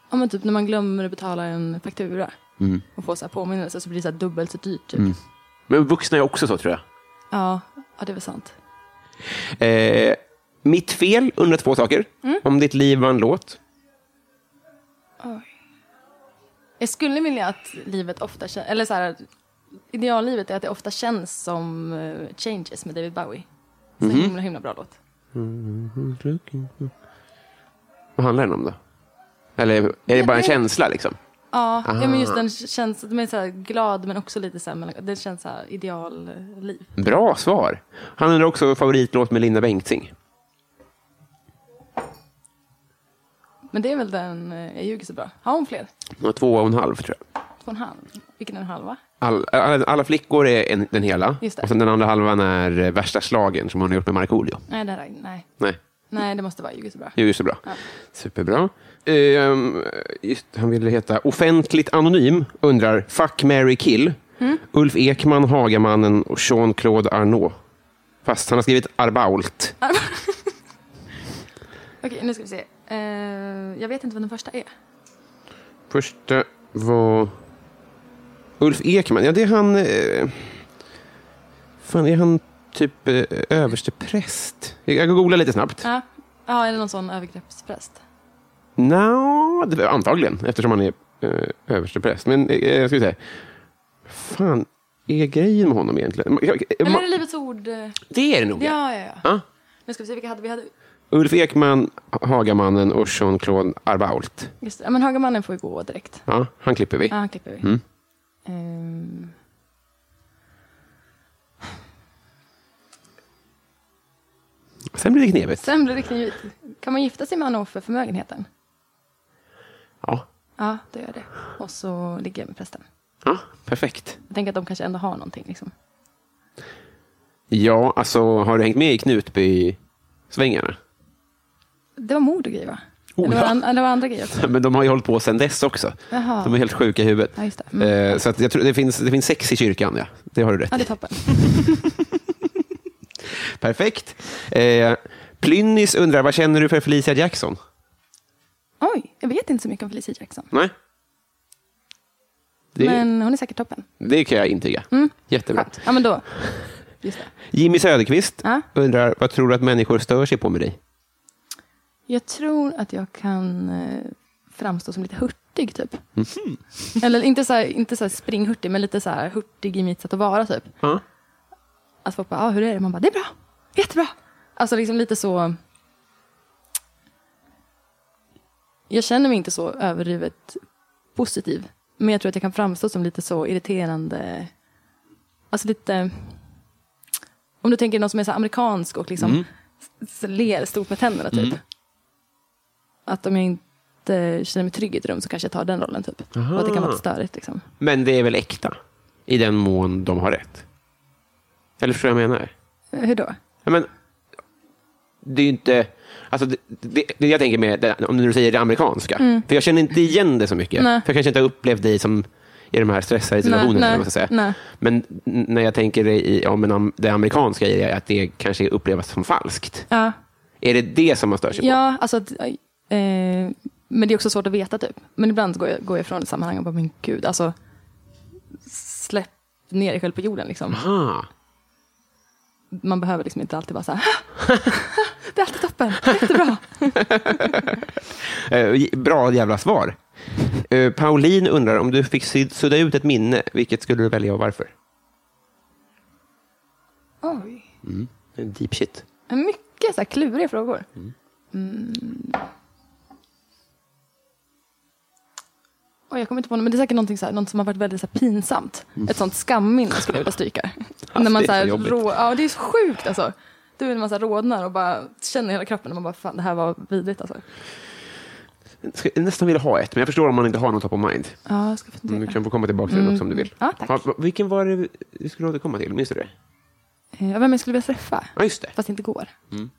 Speaker 2: Ja men typ när man glömmer att betala en faktura
Speaker 1: Mm.
Speaker 2: och får så här påminnelse så blir det så här dubbelt så dyrt typ.
Speaker 1: Men vuxna är också så, tror jag.
Speaker 2: Ja, ja, det är väl sant.
Speaker 1: Eh, mitt fel under två saker.
Speaker 2: Mm.
Speaker 1: Om ditt liv var en låt.
Speaker 2: Jag skulle vilja att livet ofta känns, eller så här, ideallivet är att det ofta känns som eh, Changes med David Bowie. Så himla himla bra låt.
Speaker 1: Vad handlar den om då? Eller är det bara en
Speaker 2: vet.
Speaker 1: känsla liksom?
Speaker 2: Ja, ja men just den känns, den är så här glad men också lite så här, melankol- det känns så här idealliv.
Speaker 1: Bra svar. Han undrar också favoritlåt med Linda Bengtzing.
Speaker 2: Men det är väl den, eh, jag ljuger så bra. Har hon fler?
Speaker 1: Hon har Två och en halv tror jag.
Speaker 2: Två och en halv? Vilken är en halva?
Speaker 1: All, alla, alla flickor är en, den hela.
Speaker 2: Just det.
Speaker 1: Och sen den andra halvan är eh, värsta slagen som hon har gjort med Markoolio.
Speaker 2: Nej, det här, nej.
Speaker 1: Nej,
Speaker 2: Nej, det måste vara jag ljuger så bra.
Speaker 1: det är ju så bra. Superbra. Ehm, just, han ville heta Offentligt Anonym undrar Fuck, Mary kill. Ulf Ekman, Hagamannen och Jean-Claude Arnault. Fast han har skrivit Arbault.
Speaker 2: Okej, nu ska vi se. Eh, jag vet inte vad den första är.
Speaker 1: Första var Ulf Ekman. Ja, det är han... Eh, fan, är han typ eh, överstepräst? Jag jag kan googla lite snabbt.
Speaker 2: Ja, ja eller någon sån övergreppspräst.
Speaker 1: Nja, det antagligen, eftersom han är eh, överstepräst. Men eh, jag ska säga... Fan, är grejen med honom egentligen? Ma- jag-
Speaker 2: Eller är det
Speaker 1: ma-
Speaker 2: Livets Ord? eh,
Speaker 1: Det är det nog.
Speaker 2: Ja, ja, ja.
Speaker 1: Ja.
Speaker 2: Nu ska vi se vilka hade vi hade.
Speaker 1: Ulf Ekman, Hagamannen och Jean-Claude Arbault.
Speaker 2: Just det. Ja, men Hagamannen får ju gå direkt.
Speaker 1: Ja, han klipper vi.
Speaker 2: Ja, han klipper vi.
Speaker 1: Mm.
Speaker 2: Ehm.
Speaker 1: Sen blir det knepigt.
Speaker 2: sen blir det knivigt. Kan man gifta sig med honom för förmögenheten?
Speaker 1: Ja,
Speaker 2: Ja, då gör jag det. Och så ligger jag med prästen.
Speaker 1: ja perfekt.
Speaker 2: Jag tänker att de kanske ändå har någonting. Liksom.
Speaker 1: Ja, alltså har du hängt med i Knutby-svängarna?
Speaker 2: Det var mord och grejer, va?
Speaker 1: Oh,
Speaker 2: Eller var, det
Speaker 1: ja.
Speaker 2: an- eller var det andra grejer också?
Speaker 1: Men de har ju hållit på sedan dess också.
Speaker 2: Jaha.
Speaker 1: De är helt sjuka i huvudet.
Speaker 2: Ja, just det. Mm.
Speaker 1: Eh, Så att jag tror det finns, det finns sex i kyrkan, ja. Det har du rätt
Speaker 2: Ja, det
Speaker 1: i.
Speaker 2: är toppen.
Speaker 1: Perfekt. Eh, Plynnis undrar, vad känner du för Felicia Jackson?
Speaker 2: Oj, jag vet inte så mycket om Felicia Jackson.
Speaker 1: Nej. Det,
Speaker 2: Men hon är säkert toppen.
Speaker 1: det kan jag intyga. Jättebra.
Speaker 2: Skönt. Ja, men då. Just det.
Speaker 1: Jimmy Söderqvist
Speaker 2: Ja.
Speaker 1: undrar, vad tror du att människor stör sig på med dig?
Speaker 2: Jag tror att jag kan eh, framstå som lite hurtig, typ. Eller inte så, här, inte så här springhurtig, men lite så här hurtig i mitt sätt att vara, typ.
Speaker 1: Ja.
Speaker 2: Att folk bara, ah, hur är det? Man bara, det är bra. Jättebra. Alltså liksom lite så... Jag känner mig inte så överdrivet positiv. Men jag tror att jag kan framstå som lite så irriterande. Alltså lite... Om du tänker någon som är så här amerikansk och liksom s- ler stort med tänderna typ. Att om jag inte känner mig trygg i ett rum så kanske jag tar den rollen typ. Och att det kan vara lite störigt liksom.
Speaker 1: Men det är väl äkta? I den mån de har rätt. Eller förstår du vad jag menar?
Speaker 2: Eh, Hur då?
Speaker 1: Ja, men, det är ju inte... Alltså, det, det, det jag tänker med, det, om du säger det amerikanska, för jag känner inte igen det så mycket.
Speaker 2: Mm. Nej.
Speaker 1: För jag kanske inte har upplevt dig som i de här stressade situationerna.
Speaker 2: nej,
Speaker 1: eller vad man ska säga.
Speaker 2: nej.
Speaker 1: Men n- när jag tänker det i, om en, am- det amerikanska i det, att det kanske upplevs som falskt.
Speaker 2: Ja,
Speaker 1: Är det det som man stör sig
Speaker 2: ja alltså att, eh, Men det är också svårt att veta typ. Men ibland går jag, går jag ifrån ett sammanhang och bara, men gud, alltså. Släpp ner dig själv på jorden liksom.
Speaker 1: på? Ah,
Speaker 2: Man behöver liksom inte alltid vara så här, det är alltid toppen, jättebra.
Speaker 1: eh, j- bra jävla svar. Eh, Pauline undrar, om du fick syd- sudda ut ett minne, vilket skulle du välja och varför?
Speaker 2: Oj.
Speaker 1: Deep shit.
Speaker 2: Mycket så här kluriga frågor.
Speaker 1: Mm.
Speaker 2: Mm. Och jag kommer inte på något, men det är säkert någonting så här, något som har varit väldigt så här pinsamt. Ett sånt skamminne skulle jag vilja stryka. när man
Speaker 1: Mm. det är
Speaker 2: så här,
Speaker 1: så jobbigt.
Speaker 2: rå, ja, det är så sjukt alltså. Du vet när man så här rodnar och bara känner i hela kroppen och man bara fan det här var vidrigt alltså.
Speaker 1: Ska- Jag nästan vill ha ett, men jag förstår om man inte har något top of mind.
Speaker 2: Ja, jag ska
Speaker 1: Mm,
Speaker 2: fundera.
Speaker 1: Du kan få komma tillbaka till det något som du vill.
Speaker 2: Mm. Ja, tack.
Speaker 1: Ja, va- vilken var det vi skulle återkomma till? Minns du det?
Speaker 2: Eh, Vem jag skulle vilja träffa,
Speaker 1: Ja, just det.
Speaker 2: fast det inte går. Mm.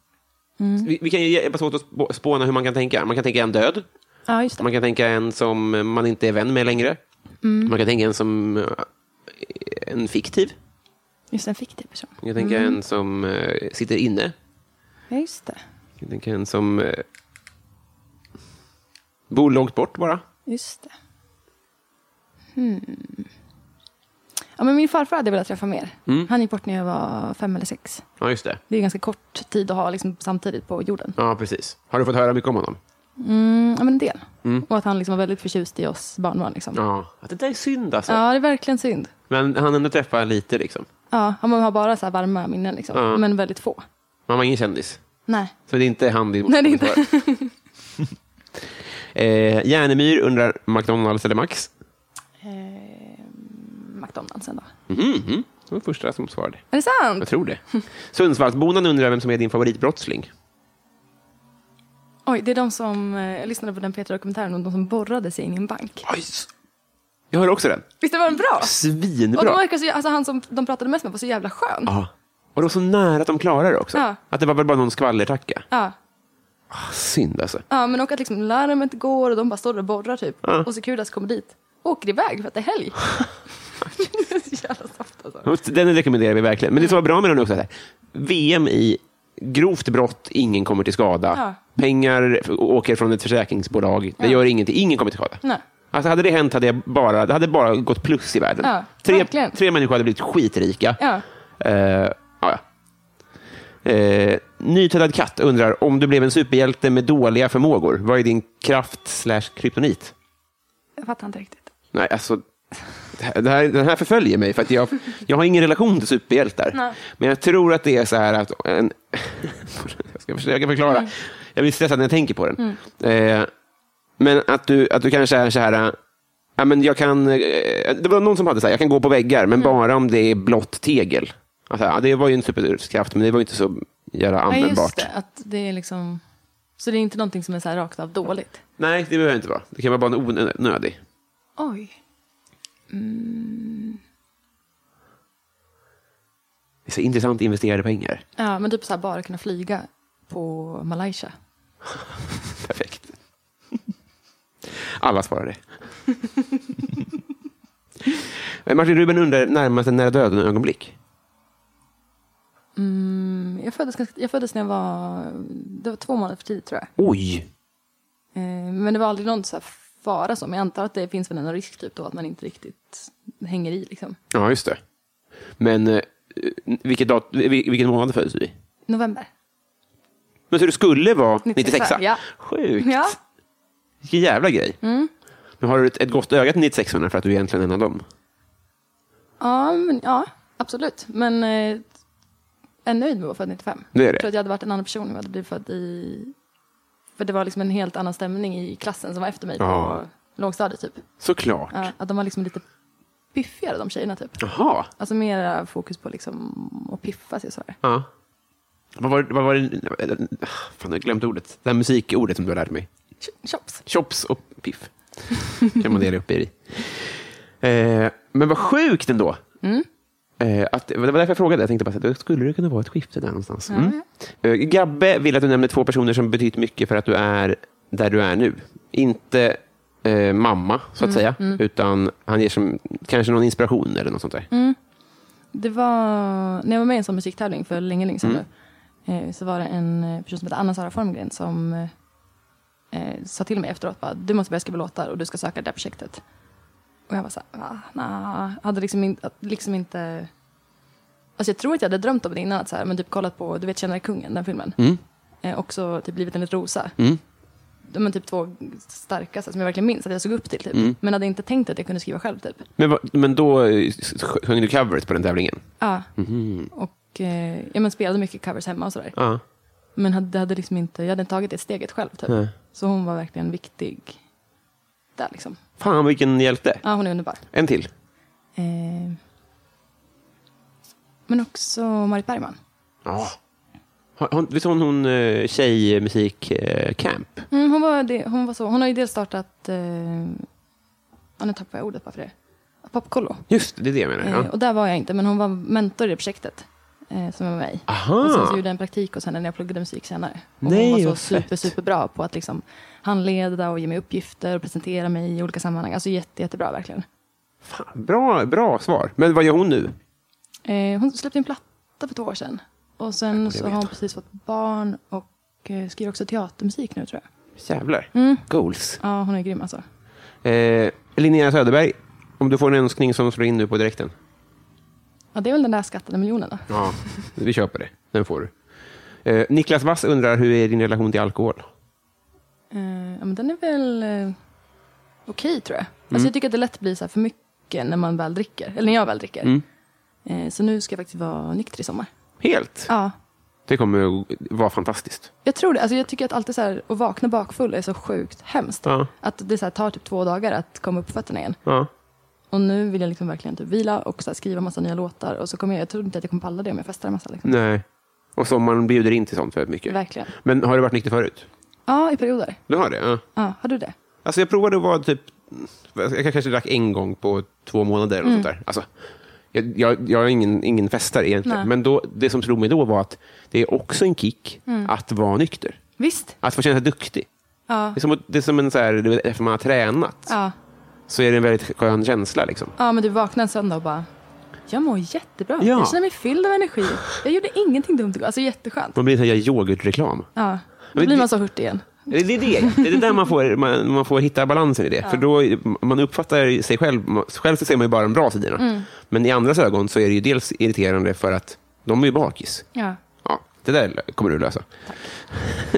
Speaker 1: Vi, vi kan ju hjälpas åt att spå- spåna hur man kan tänka. Man kan tänka en död.
Speaker 2: Ja, just det.
Speaker 1: Man kan tänka en som man inte är vän med längre.
Speaker 2: Mm.
Speaker 1: Man kan tänka en som eh, en fiktiv.
Speaker 2: Just en fiktiv person.
Speaker 1: Man kan tänka
Speaker 2: Mm.
Speaker 1: en som eh, sitter inne.
Speaker 2: Ja, just det.
Speaker 1: Man kan tänka en som eh, bor långt bort bara.
Speaker 2: Just det. Hmm. Ja, men min farfar hade jag velat träffa mer. Han gick bort när jag var fem eller sex.
Speaker 1: Ja, just det.
Speaker 2: Det är ganska kort tid att ha liksom, samtidigt på jorden.
Speaker 1: Ja, precis. Har du fått höra mycket om honom?
Speaker 2: Mm, ja, men en del. Och att han liksom var väldigt förtjust i oss barnbarn. Liksom. Ja.
Speaker 1: Ja. Att det där är synd alltså.
Speaker 2: det är verkligen synd.
Speaker 1: Men han ändå träffa lite liksom.
Speaker 2: Ja, man har bara så här varma minnen, liksom.
Speaker 1: Ja.
Speaker 2: men väldigt få.
Speaker 1: Man var ingen kändis.
Speaker 2: Nej.
Speaker 1: Så det är inte han din
Speaker 2: Nej, det är
Speaker 1: motsvarighet var. eh, Järnemyr undrar McDonalds eller Max?
Speaker 2: Ehm, McDonalds ändå.
Speaker 1: Mhm. Det var första som svarade.
Speaker 2: Är det sant?
Speaker 1: Jag tror det. Sundsvallsbonan undrar vem som är din favoritbrottsling.
Speaker 2: Oj, det är de som... eh, Jag lyssnade på den Petra-dokumentären om de som borrade sig in i en bank.
Speaker 1: Jag hör också den.
Speaker 2: Visst var den bra? Och de
Speaker 1: Svinbra.
Speaker 2: verkar så, alltså, han som de pratade mest med var så jävla skön.
Speaker 1: Ja. Och de var så nära att de klarar det också.
Speaker 2: Ja.
Speaker 1: Att det var väl bara någon skvallertacka.
Speaker 2: Ja.
Speaker 1: Synd alltså.
Speaker 2: Ja, men och att liksom larmet går och de bara står och borrar typ.
Speaker 1: Ja.
Speaker 2: Och Securitas kommer dit. Åker iväg för att det är helg. det är så jävla soft alltså.
Speaker 1: Den rekommenderar vi verkligen. Men det som var bra med den också, är att VM i grovt brott, ingen kommer till skada.
Speaker 2: Ja.
Speaker 1: Pengar f- åker från ett försäkringsbolag, det gör ingenting, ingen kommer till skada.
Speaker 2: Nej.
Speaker 1: Alltså hade det hänt hade jag bara, det hade bara gått plus i världen.
Speaker 2: Ja,
Speaker 1: tre,
Speaker 2: verkligen.
Speaker 1: tre människor hade blivit skitrika.
Speaker 2: Ja.
Speaker 1: Eh, ja, ja. Eh, Nytvättad katt undrar, om du blev en superhjälte med dåliga förmågor, vad är din kraft slash kryptonit?
Speaker 2: Jag fattar inte riktigt.
Speaker 1: Nej, alltså, det här- det här, den här förföljer mig, för att jag, jag har ingen relation till superhjältar.
Speaker 2: Nej.
Speaker 1: Men jag tror att det är så här att... En, jag ska
Speaker 2: Mm.
Speaker 1: försöka förklara. Jag blir stressad när jag tänker på den. Eh, men att du, att du kanske är så här... äh, Ja, men jag kan, eh, det var någon som hade så här, jag kan gå på väggar,
Speaker 2: Mm.
Speaker 1: men bara om det är blått tegel. Alltså, ja, det var ju en superkraft, men det var ju inte så jävla
Speaker 2: Ja,
Speaker 1: användbart.
Speaker 2: just det. Att det är liksom... Så det är inte någonting som är så här rakt av dåligt.
Speaker 1: Nej, det behöver inte vara. Det kan vara bara en onödig.
Speaker 2: Oj.
Speaker 1: Det är så intressant investerade pengar.
Speaker 2: Ja, men typ så här bara kunna flyga på Malaysia.
Speaker 1: Perfekt. Alla svarade. Men Martin Ruben undrar närmast en nära döden-ögonblick.
Speaker 2: Mm, Jag föddes, ganska- jag föddes när jag var, det var två månader för tidigt tror jag.
Speaker 1: Oj!
Speaker 2: Eh, Men det var aldrig någon så här fara så. Men jag antar att det finns väl en risk typ då att man inte riktigt hänger i liksom.
Speaker 1: Ja, just det. Men eh, vilket dat- vil- vilken månad föddes du i?
Speaker 2: November.
Speaker 1: Men så du skulle vara 96?
Speaker 2: Ja.
Speaker 1: Sjukt!
Speaker 2: Ja. Mm.
Speaker 1: Vilken jävla grej. Men har du ett, ett gott öga till 96 för att du är egentligen en av dem?
Speaker 2: Ja, men, ja absolut. Men eh, är nöjd med att vara född 95.
Speaker 1: Det är
Speaker 2: Jag tror att
Speaker 1: det.
Speaker 2: jag hade varit en annan person om jag hade blivit född i... För det var liksom en helt annan stämning i klassen som var efter mig på
Speaker 1: Ja.
Speaker 2: lågstadiet typ.
Speaker 1: Såklart.
Speaker 2: Ja, att de var liksom lite piffigare de tjejerna typ.
Speaker 1: Jaha.
Speaker 2: Alltså mer fokus på liksom att piffa sig och sådär.
Speaker 1: Ja. Vad var, vad var det? Fan, jag har glömt ordet. Det här musikordet som du har lärt mig.
Speaker 2: Ch- Tjops!
Speaker 1: Chops och piff. kan man dela upp er i. Eh, men vad sjukt ändå. Eh, att, det var därför jag frågade. Jag tänkte bara, att det skulle det kunna vara ett skifte där någonstans? Mm. Eh, Gabbe vill att du nämner två personer som betytt mycket för att du är där du är nu. Inte eh, mamma, så att säga, utan han ger som, kanske någon inspiration eller något sånt där.
Speaker 2: Det var, när jag var med i en sån musiktävling för länge, länge sedan nu, eh, så var det en eh, person som hette Anna-Sara Formgren som eh, eh, sa till mig efteråt bara, du måste börja skriva låtar och du ska söka det där projektet. Och jag var så här, ah, nah. hade liksom, in, att- liksom inte... Alltså jag tror att jag hade drömt om det innan, att så här, men typ kollat på, du vet Tjänare kungen, den filmen. Eh, också typ Livet enligt Rosa. De är typ två starka så här, som jag verkligen minns att jag såg upp till. Typ. Men hade inte tänkt att jag kunde skriva själv typ.
Speaker 1: Men, vad- men då eh, s- s- sjöng du covers på den tävlingen?
Speaker 2: Ja. Och eh, ja, men spelade mycket covers hemma och sådär.
Speaker 1: Ja.
Speaker 2: Men hade, det hade liksom inte, jag hade inte tagit det steget själv. Typ. Så hon var verkligen viktig där liksom.
Speaker 1: Fan, vilken hjälte.
Speaker 2: Ja, hon är underbar.
Speaker 1: En till.
Speaker 2: Eh, men också Marit Bergman.
Speaker 1: Ja. Har- Hon, visst har hon, hon eh, tjejmusik-camp?
Speaker 2: Mm, hon, var det, hon, var så, hon har ju dels startat, eh, ja, nu tappar jag ordet bara för det, Popkollo.
Speaker 1: Just det, det är det jag menar.
Speaker 2: Eh,
Speaker 1: Ja.
Speaker 2: och där var jag inte, men hon var mentor i det projektet. Eh, som jag var med i.
Speaker 1: Aha.
Speaker 2: Och sen så gjorde jag en praktik hos henne när jag pluggade musik senare. Och
Speaker 1: Nej,
Speaker 2: hon var
Speaker 1: vad
Speaker 2: så super,
Speaker 1: fett.
Speaker 2: superbra på att liksom handleda och ge mig uppgifter och presentera mig i olika sammanhang. Alltså jätte, jättebra verkligen.
Speaker 1: Fan, bra, bra svar. Men vad gör hon nu?
Speaker 2: Eh, hon släppte en platta för två år sedan. Och sen så har hon precis fått barn och eh, skriver också teatermusik nu tror jag.
Speaker 1: Jävlar.
Speaker 2: Mm.
Speaker 1: Goals.
Speaker 2: Ja, hon är grym alltså.
Speaker 1: Eh, Linnea Söderberg, om du får en önskning som slår in nu på direkten.
Speaker 2: Ja, det är väl den där skattade miljonen då.
Speaker 1: Ja. Vi köper det. Den får du. Eh, Niklas Wass undrar, hur är din relation till alkohol?
Speaker 2: Eh, ja, men den är väl eh, okej, tror jag.
Speaker 1: Mm.
Speaker 2: Alltså, jag tycker att det lätt blir så här för mycket när man väl dricker. Eller när jag väl dricker.
Speaker 1: Mm.
Speaker 2: Eh, så nu ska jag faktiskt vara nykter i sommar.
Speaker 1: Helt.
Speaker 2: Ja,
Speaker 1: Det kommer att vara fantastiskt.
Speaker 2: jag tror det. Alltså, jag tycker att alltid så här, att vakna bakfull är så sjukt hemskt.
Speaker 1: Ja.
Speaker 2: Att det så här, tar typ två dagar att komma upp på fötterna igen.
Speaker 1: Ja.
Speaker 2: Och nu vill jag liksom verkligen typ vila och så här, skriva massa nya låtar. Och så kommer jag, jag tror inte att jag kommer palla det om jag festar en massa. Liksom.
Speaker 1: Nej. Och sommaren bjuder in till sånt väldigt mycket.
Speaker 2: Verkligen.
Speaker 1: Men har du varit nykter förut?
Speaker 2: Ja, i perioder.
Speaker 1: Du har det? Ja.
Speaker 2: Ja, har du det?
Speaker 1: Alltså jag provade att vara typ, jag kanske drack en gång på två månader
Speaker 2: Mm.
Speaker 1: eller något sånt där. Alltså, jag, jag, jag är ingen, ingen festare egentligen,
Speaker 2: Nej.
Speaker 1: men då, det som slog mig då var att det är också en kick
Speaker 2: Mm.
Speaker 1: att vara nykter.
Speaker 2: Visst.
Speaker 1: Att få känna sig duktig. Det, är som, att- det är som en så här, du vet, efter man har tränat,
Speaker 2: Ja.
Speaker 1: så är det en väldigt skön känsla. Liksom.
Speaker 2: Ja, men du vaknar en söndag och bara, jag mår jättebra.
Speaker 1: Ja.
Speaker 2: Jag känner mig fylld av energi. Jag gjorde ingenting dumt igår. Alltså jätteskönt.
Speaker 1: Man blir en sån här yoghurtreklam.
Speaker 2: Ja. Då
Speaker 1: Men
Speaker 2: blir
Speaker 1: det-
Speaker 2: man så hurtig igen.
Speaker 1: Det är det, det är det där man får, man, man får hitta balansen i det. För då, man uppfattar sig själv, själv så ser man ju bara de bra sidorna.
Speaker 2: Mm.
Speaker 1: Men i andras ögon så är det ju dels irriterande för att de är ju bakis.
Speaker 2: Ja.
Speaker 1: Ja, det där kommer du lösa.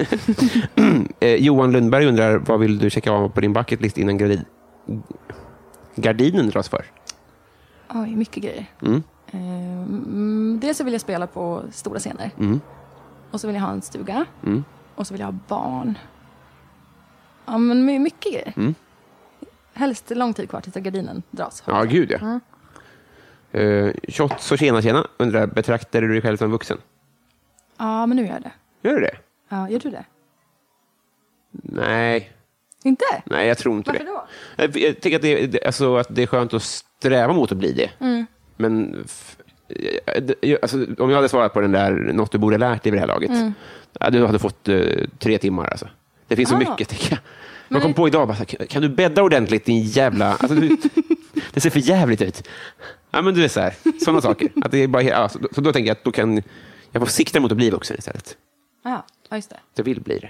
Speaker 1: eh, Johan Lundberg undrar, vad vill du checka av på din bucketlist innan gardin... gardinen dras för?
Speaker 2: Oj, mycket grejer. Eh, mm, dels så vill jag spela på stora scener.
Speaker 1: Mm.
Speaker 2: Och så vill jag ha en stuga. Och så vill jag ha barn. Ja, men my- mycket grejer.
Speaker 1: Mm.
Speaker 2: Helst lång tid kvar tills gardinen dras.
Speaker 1: Ja, gud ja. Mm. Eh, Shots och tjena tjena undrar, betraktar du dig själv som vuxen?
Speaker 2: Ja, men nu gör jag det.
Speaker 1: Gör du det?
Speaker 2: Ja, gör du det?
Speaker 1: Nej,
Speaker 2: Inte?
Speaker 1: nej jag tror inte
Speaker 2: Varför
Speaker 1: det.
Speaker 2: då?
Speaker 1: Jag, jag tycker att det, det- alltså, att det är skönt att sträva mot att bli det.
Speaker 2: Mm.
Speaker 1: Men f- eh, det- jag- alltså, om jag hade svarat på den där, något du borde
Speaker 2: Mm. Ah.
Speaker 1: ha lärt dig vid det här laget, ja, du hade fått eh, tre timmar. Alltså. Det finns så mycket, tänker jag. Jag kom på idag, bara, kan du bädda ordentligt din jävla... Alltså, du, det ser för jävligt ut. Ja, men du är så här, sådana saker. Att det är bara, ja, så, så då tänker jag att då kan jag får sikta mot att bli vuxen istället.
Speaker 2: Ja, ja, just det.
Speaker 1: Jag vill bli det.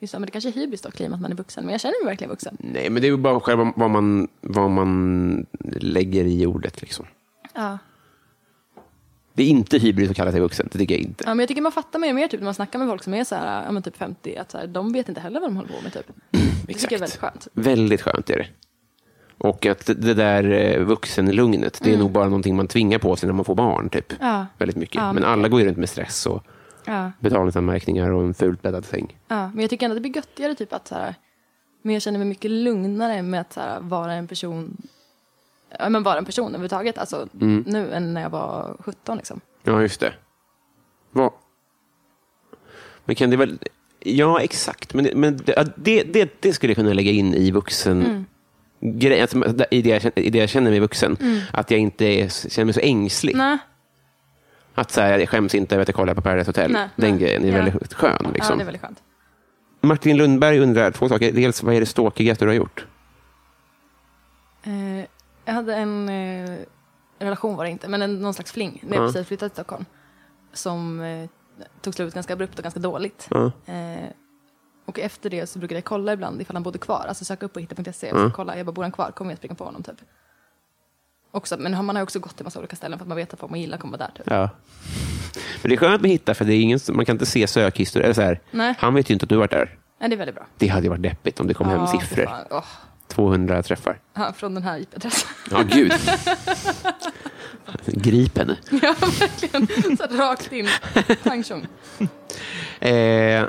Speaker 2: Just det. Men det kanske är hybris då, klimat att man är vuxen. Men jag känner mig verkligen vuxen.
Speaker 1: Nej, men det är ju bara själva vad man, vad man lägger i ordet. Liksom.
Speaker 2: Ja.
Speaker 1: Det är inte hybris att kalla sig vuxen, det tycker jag inte.
Speaker 2: ja, men jag tycker man fattar mer och mer typ när man snackar med folk som är så här, ja men typ 50, att så här, de vet inte heller vad de håller på med typ. Det tycker jag är väldigt skönt.
Speaker 1: Väldigt skönt är det. Och att det där eh, vuxenlugnet, det är nog bara någonting man tvingar på sig när man får barn. typ.
Speaker 2: Mm. Ja.
Speaker 1: Väldigt mycket.
Speaker 2: Ja,
Speaker 1: men alla går ju runt med stress och
Speaker 2: Ja.
Speaker 1: betalningsanmärkningar och en fult bäddad säng.
Speaker 2: Ja, men jag tycker ändå att det blir göttigare typ att så här, men jag känner mig mycket lugnare med att så här, vara en person, ja men vara en person överhuvudtaget, alltså nu än när jag var 17 liksom.
Speaker 1: Ja, just det. Vad? Men kan det väl... Ja, exakt. Men, det- men det, ja, det, det, det skulle jag kunna lägga in i vuxen...
Speaker 2: Mm.
Speaker 1: Grej, alltså, i, det jag, känner- I det jag känner mig vuxen. Att jag inte är, känner mig så ängslig.
Speaker 2: Mm. Nej,
Speaker 1: Att så här, jag skäms inte över att jag kollar på Paradise Hotel.
Speaker 2: Nej,
Speaker 1: Den
Speaker 2: nej.
Speaker 1: grejen är
Speaker 2: Ja.
Speaker 1: väldigt skön.
Speaker 2: ja,
Speaker 1: Liksom.
Speaker 2: det är väldigt skönt.
Speaker 1: Martin Lundberg undrar två saker. Dels, vad är det ståkigaste du har gjort?
Speaker 2: Eh, jag hade en eh, relation var det inte, men en, någon slags fling när jag
Speaker 1: Ja.
Speaker 2: precis flyttade till Stockholm. Som eh, tog slut ganska abrupt och ganska dåligt.
Speaker 1: Ja.
Speaker 2: Eh, och efter det så brukade jag kolla ibland ifall han bodde kvar. Alltså söka upp på hitta.se och
Speaker 1: Ja.
Speaker 2: så kolla, jag bara bor han kvar? Kommer jag springa på honom typ? Också, men man har ju också gått till massa olika ställen för att man vet att vad man gillar kommer vara där typ.
Speaker 1: Ja. Men det är skönt med hitta, för det är ingen, man kan inte se sökhistoria. Eller så här,
Speaker 2: Nej.
Speaker 1: han vet ju inte att du har varit där.
Speaker 2: Nej, det är väldigt bra.
Speaker 1: Det hade ju varit deppigt om det kom hem
Speaker 2: Ja,
Speaker 1: siffror.
Speaker 2: fan. Åh,
Speaker 1: 200 träffar.
Speaker 2: ja, från den här IP-adressen.
Speaker 1: Ja, gud. Grip henne.
Speaker 2: ja, verkligen. Så rakt in. Pang tjong.
Speaker 1: Eh,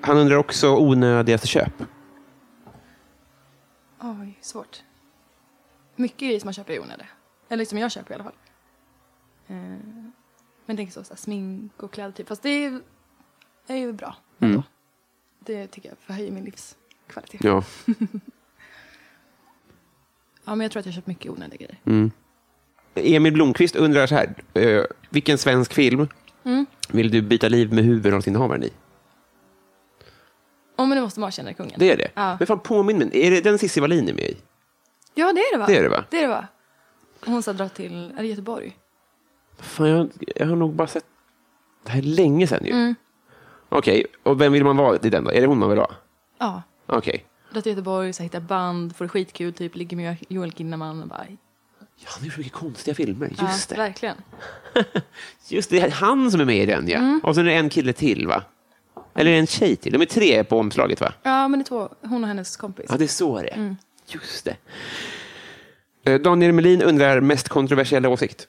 Speaker 1: han undrar också onödigaste köp.
Speaker 2: Oj, svårt. Mycket grejer som man köper i onödan. Eller liksom jag köper i alla fall. Eh, men tänk så, så här, smink och kläder typ. Fast det är, är ju bra
Speaker 1: Mm.
Speaker 2: ändå. Det tycker jag förhöjer min livskvalitet. Ja.
Speaker 1: Ja.
Speaker 2: men jag tror att jag köpt mycket onödiga grejer.
Speaker 1: Mm. Emil Blomqvist undrar så här. Eh, vilken svensk film
Speaker 2: Mm.
Speaker 1: vill du byta liv med huvudrollsinnehavaren i?
Speaker 2: Åh men det måste man känna kungen.
Speaker 1: Det är det.
Speaker 2: Ja.
Speaker 1: Men fan, påminn mig. Är det den Cissi Wallin är med i?
Speaker 2: Ja det är det va?
Speaker 1: Det är det, va?
Speaker 2: Det är det va? Hon ska dra till, är det Göteborg?
Speaker 1: Fan, jag, jag har nog bara sett... Det här är länge sedan ju.
Speaker 2: Mm.
Speaker 1: Okej, och vem vill man vara i den då? Är det hon man vill vara?
Speaker 2: Ja.
Speaker 1: Okej.
Speaker 2: Dra till Göteborg, så här, hitta band, får det skitkul, typ ligger med Joel Kinnaman och bara...
Speaker 1: Ja, det är så mycket konstiga filmer.
Speaker 2: Ja,
Speaker 1: Just det.
Speaker 2: Verkligen.
Speaker 1: Just det, det är han som är med i den ja. Och sen är det en kille till va? Eller en tjej till. De är tre på omslaget va?
Speaker 2: Ja men det är två, hon och hennes kompis.
Speaker 1: Ja, det är så det är. Just det. Eh, Daniel Melin undrar mest kontroversiella åsikt.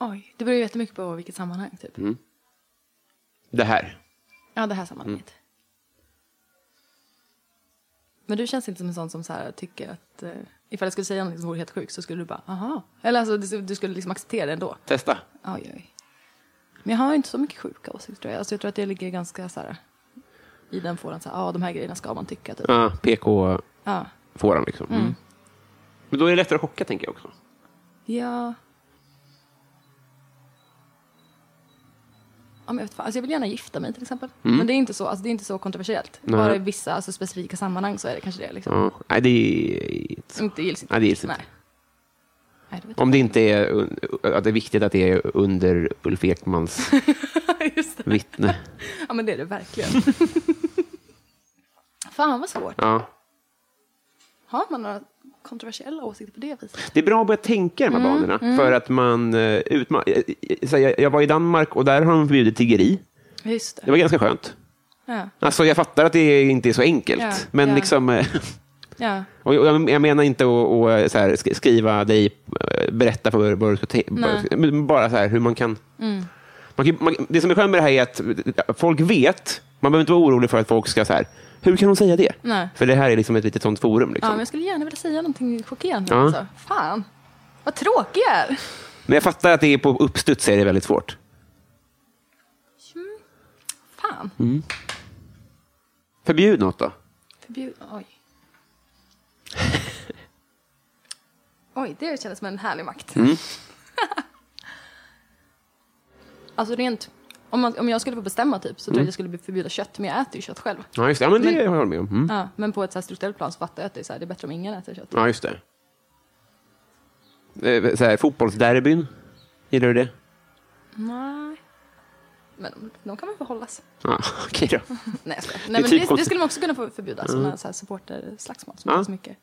Speaker 2: Oj, det beror ju jättemycket på vilket sammanhang typ.
Speaker 1: Det här.
Speaker 2: Ja, det här sammanhanget. Men du känns inte som en sån som så här, tycker att eh, ifall jag skulle säga något som vore helt sjukt så skulle du bara aha. Eller alltså du, du skulle liksom acceptera det ändå.
Speaker 1: Testa.
Speaker 2: Oj, oj. Men jag har ju inte så mycket sjuka åsikter tror jag. Alltså, jag tror att jag ligger ganska så här i den fåran så här, ja ah, de här grejerna ska man tycka typ.
Speaker 1: Ja, PK-fåran
Speaker 2: Ja.
Speaker 1: liksom. Mm. Men då är det lättare att chocka tänker jag också.
Speaker 2: Ja. Ja, men jag, vet fan. Alltså jag vill gärna gifta mig till exempel.
Speaker 1: Mm.
Speaker 2: Men det är inte så, alltså det är inte så kontroversiellt. Bara i vissa alltså, specifika sammanhang så är det kanske det. Liksom.
Speaker 1: Ja. Nej, det är...
Speaker 2: Inte gills inte.
Speaker 1: Nej, det gills inte.
Speaker 2: Nej. Nej, det vet
Speaker 1: Om det inte är, un- att det är viktigt att det är under Ulf Ekmans
Speaker 2: jag. Just det.
Speaker 1: vittne.
Speaker 2: Ja, men det är det verkligen. Fan vad svårt.
Speaker 1: Ja.
Speaker 2: Har man några kontroversiella åsikter på det viset?
Speaker 1: Det är bra att börja tänka i de här
Speaker 2: Mm,
Speaker 1: banorna. För att man, eh, utma- eh, eh, så här, jag- jag var i Danmark och där har de förbjudit tiggeri.
Speaker 2: Just
Speaker 1: Det
Speaker 2: det.
Speaker 1: var ganska skönt.
Speaker 2: Ja.
Speaker 1: Alltså, jag fattar att det inte är så enkelt.
Speaker 2: Ja,
Speaker 1: men
Speaker 2: ja.
Speaker 1: liksom... eh,
Speaker 2: Ja.
Speaker 1: Och jag, jag menar inte att att eh, så här, sk- skriva dig, eh, berätta för vad du ska tänka.
Speaker 2: Nej. Mm.
Speaker 1: men Bara så här hur man kan... Man kan man, det som är skönt med det här är att folk vet. Man behöver inte vara orolig för att folk ska så här, hur kan hon säga det?
Speaker 2: Nej.
Speaker 1: För det här är liksom ett litet sånt forum.
Speaker 2: ja,
Speaker 1: Liksom.
Speaker 2: men jag skulle gärna vilja säga någonting chockerande.
Speaker 1: Ja.
Speaker 2: Alltså. Fan, vad tråkig jag är.
Speaker 1: Men jag fattar att det är på uppstuds är det väldigt svårt.
Speaker 2: Fan,
Speaker 1: Förbjud något då.
Speaker 2: förbjud... Oj. Oj, det Mm. kändes som en härlig makt. alltså rent Om, man, om jag skulle få bestämma typ så tror jag att jag skulle förbjuda kött, men jag äter ju kött själv.
Speaker 1: Ja, just det. Ja, men det håller jag med om. Mm.
Speaker 2: Ja, men på ett så här strukturellt plan så fattar jag att det är, så här, det är bättre om ingen äter kött.
Speaker 1: Ja, just det. Eh, Så här, fotbollsderbyn. Gillar du det?
Speaker 2: Mm. Nej. Men de- de kan väl få hållas?
Speaker 1: Ja, okej då.
Speaker 2: Nej, jag skojar. Nej
Speaker 1: typ
Speaker 2: men det, det
Speaker 1: konstigt.
Speaker 2: skulle man också Mm. kunna få förbjuda. Sådana så här supporterslagsmål som
Speaker 1: Ja.
Speaker 2: tar så mycket,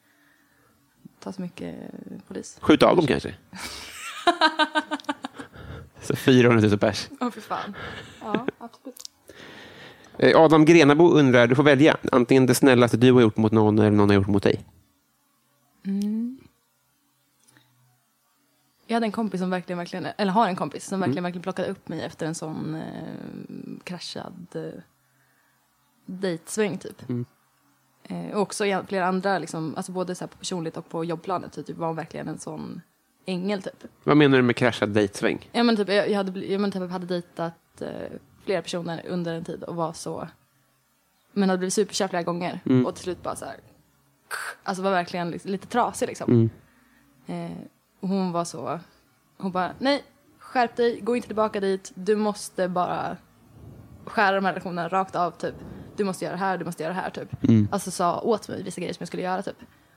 Speaker 2: tar så mycket eh, polis.
Speaker 1: Skjut av dem kanske. så 400 000 pers.
Speaker 2: Åh fy fan. Ja, absolut.
Speaker 1: Eh, Adam Grenabo undrar, du får välja. Antingen det snällaste du har gjort mot någon eller någon har gjort mot dig.
Speaker 2: Jag hade en kompis som verkligen, verkligen eller har en kompis som verkligen, verkligen plockade upp mig efter en sån eh, kraschad eh, dejtsväng typ. Eh, och också i flera andra, liksom, alltså både så här på personligt och på jobbplanet, typ, var hon verkligen en sån ängel typ.
Speaker 1: Vad menar du med kraschad dejtsväng?
Speaker 2: Ja men typ, jag, jag, hade, bli- jag men, typ, hade dejtat eh, flera personer under en tid och var så, men hade blivit superkär flera gånger och till slut bara så här, alltså var verkligen liksom, lite trasig liksom. Eh, och hon var så, hon bara, nej, skärp dig, gå inte tillbaka dit, du måste bara skära de här relationerna rakt av typ. Du måste göra det här, du måste göra det här typ. Alltså sa åt mig vissa grejer som jag skulle göra typ.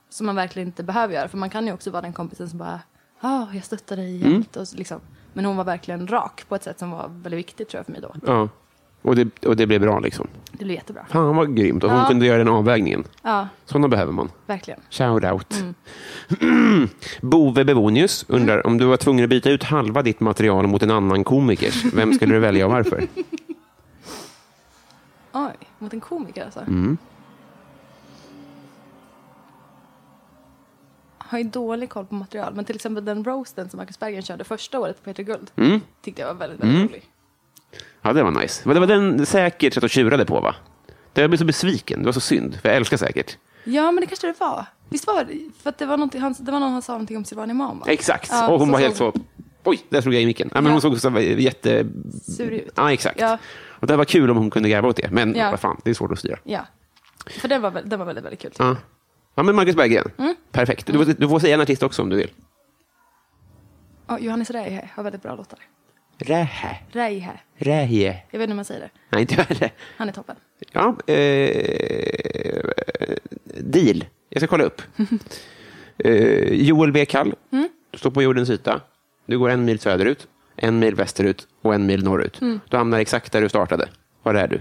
Speaker 2: Som man verkligen inte behöver göra för man kan ju också vara den kompisen som bara, ja, jag stöttar dig i allt och så, liksom. Men hon var verkligen rak på ett sätt som var väldigt viktigt tror jag för mig då.
Speaker 1: Ja. Och det, och det blev bra liksom.
Speaker 2: Det blev jättebra.
Speaker 1: Fan vad grymt. Och hon
Speaker 2: Ja.
Speaker 1: kunde göra den avvägningen.
Speaker 2: Ja,
Speaker 1: Sådana behöver man.
Speaker 2: verkligen.
Speaker 1: Shout out.
Speaker 2: Mm.
Speaker 1: Bove Bevonius undrar om du var tvungen att byta ut halva ditt material mot en annan komikers. Vem skulle du välja och varför?
Speaker 2: Oj, mot en komiker alltså. Har ju dålig koll på material, men till exempel den roasten som Marcus Berggren körde första året på Peter Guld tyckte jag var väldigt, väldigt rolig.
Speaker 1: Ja, det var nice. Men det var den säkert satt och tjurade på, va? Det- Jag blev så besviken. Det var så synd, för jag älskar säkert.
Speaker 2: Ja, men det kanske det var. Visst var det? För att det var, någonting- han, det var någon han sa någonting om Silvan Imam, va?
Speaker 1: Exakt.
Speaker 2: Ja,
Speaker 1: och hon
Speaker 2: så
Speaker 1: var
Speaker 2: såg
Speaker 1: helt så... Oj, där slog jag i micken. Ja, men
Speaker 2: Ja.
Speaker 1: Hon såg så här jätte...
Speaker 2: Sur ut.
Speaker 1: Ja, exakt.
Speaker 2: Ja.
Speaker 1: Och det var kul om hon kunde garva åt det, men
Speaker 2: Ja.
Speaker 1: vad fan, det är svårt att styra.
Speaker 2: Ja. För den var, väl- den var väldigt, väldigt kul.
Speaker 1: Ja, ja men Marcus Berggren.
Speaker 2: Mm.
Speaker 1: Perfekt. Du, får- du får säga en artist också om du vill.
Speaker 2: Ja, Johannes Reihe har väldigt bra låtar.
Speaker 1: Rähä.
Speaker 2: Reihe.
Speaker 1: Rähje.
Speaker 2: Jag vet inte hur man säger det.
Speaker 1: Nej, inte värre.
Speaker 2: Han är toppen.
Speaker 1: Ja, eh, deal. Jag ska kolla upp. eh, Joel B. Kall. Du står på jordens yta. Du går en mil söderut, en mil västerut och en mil norrut. Du hamnar exakt där du startade. Var är du?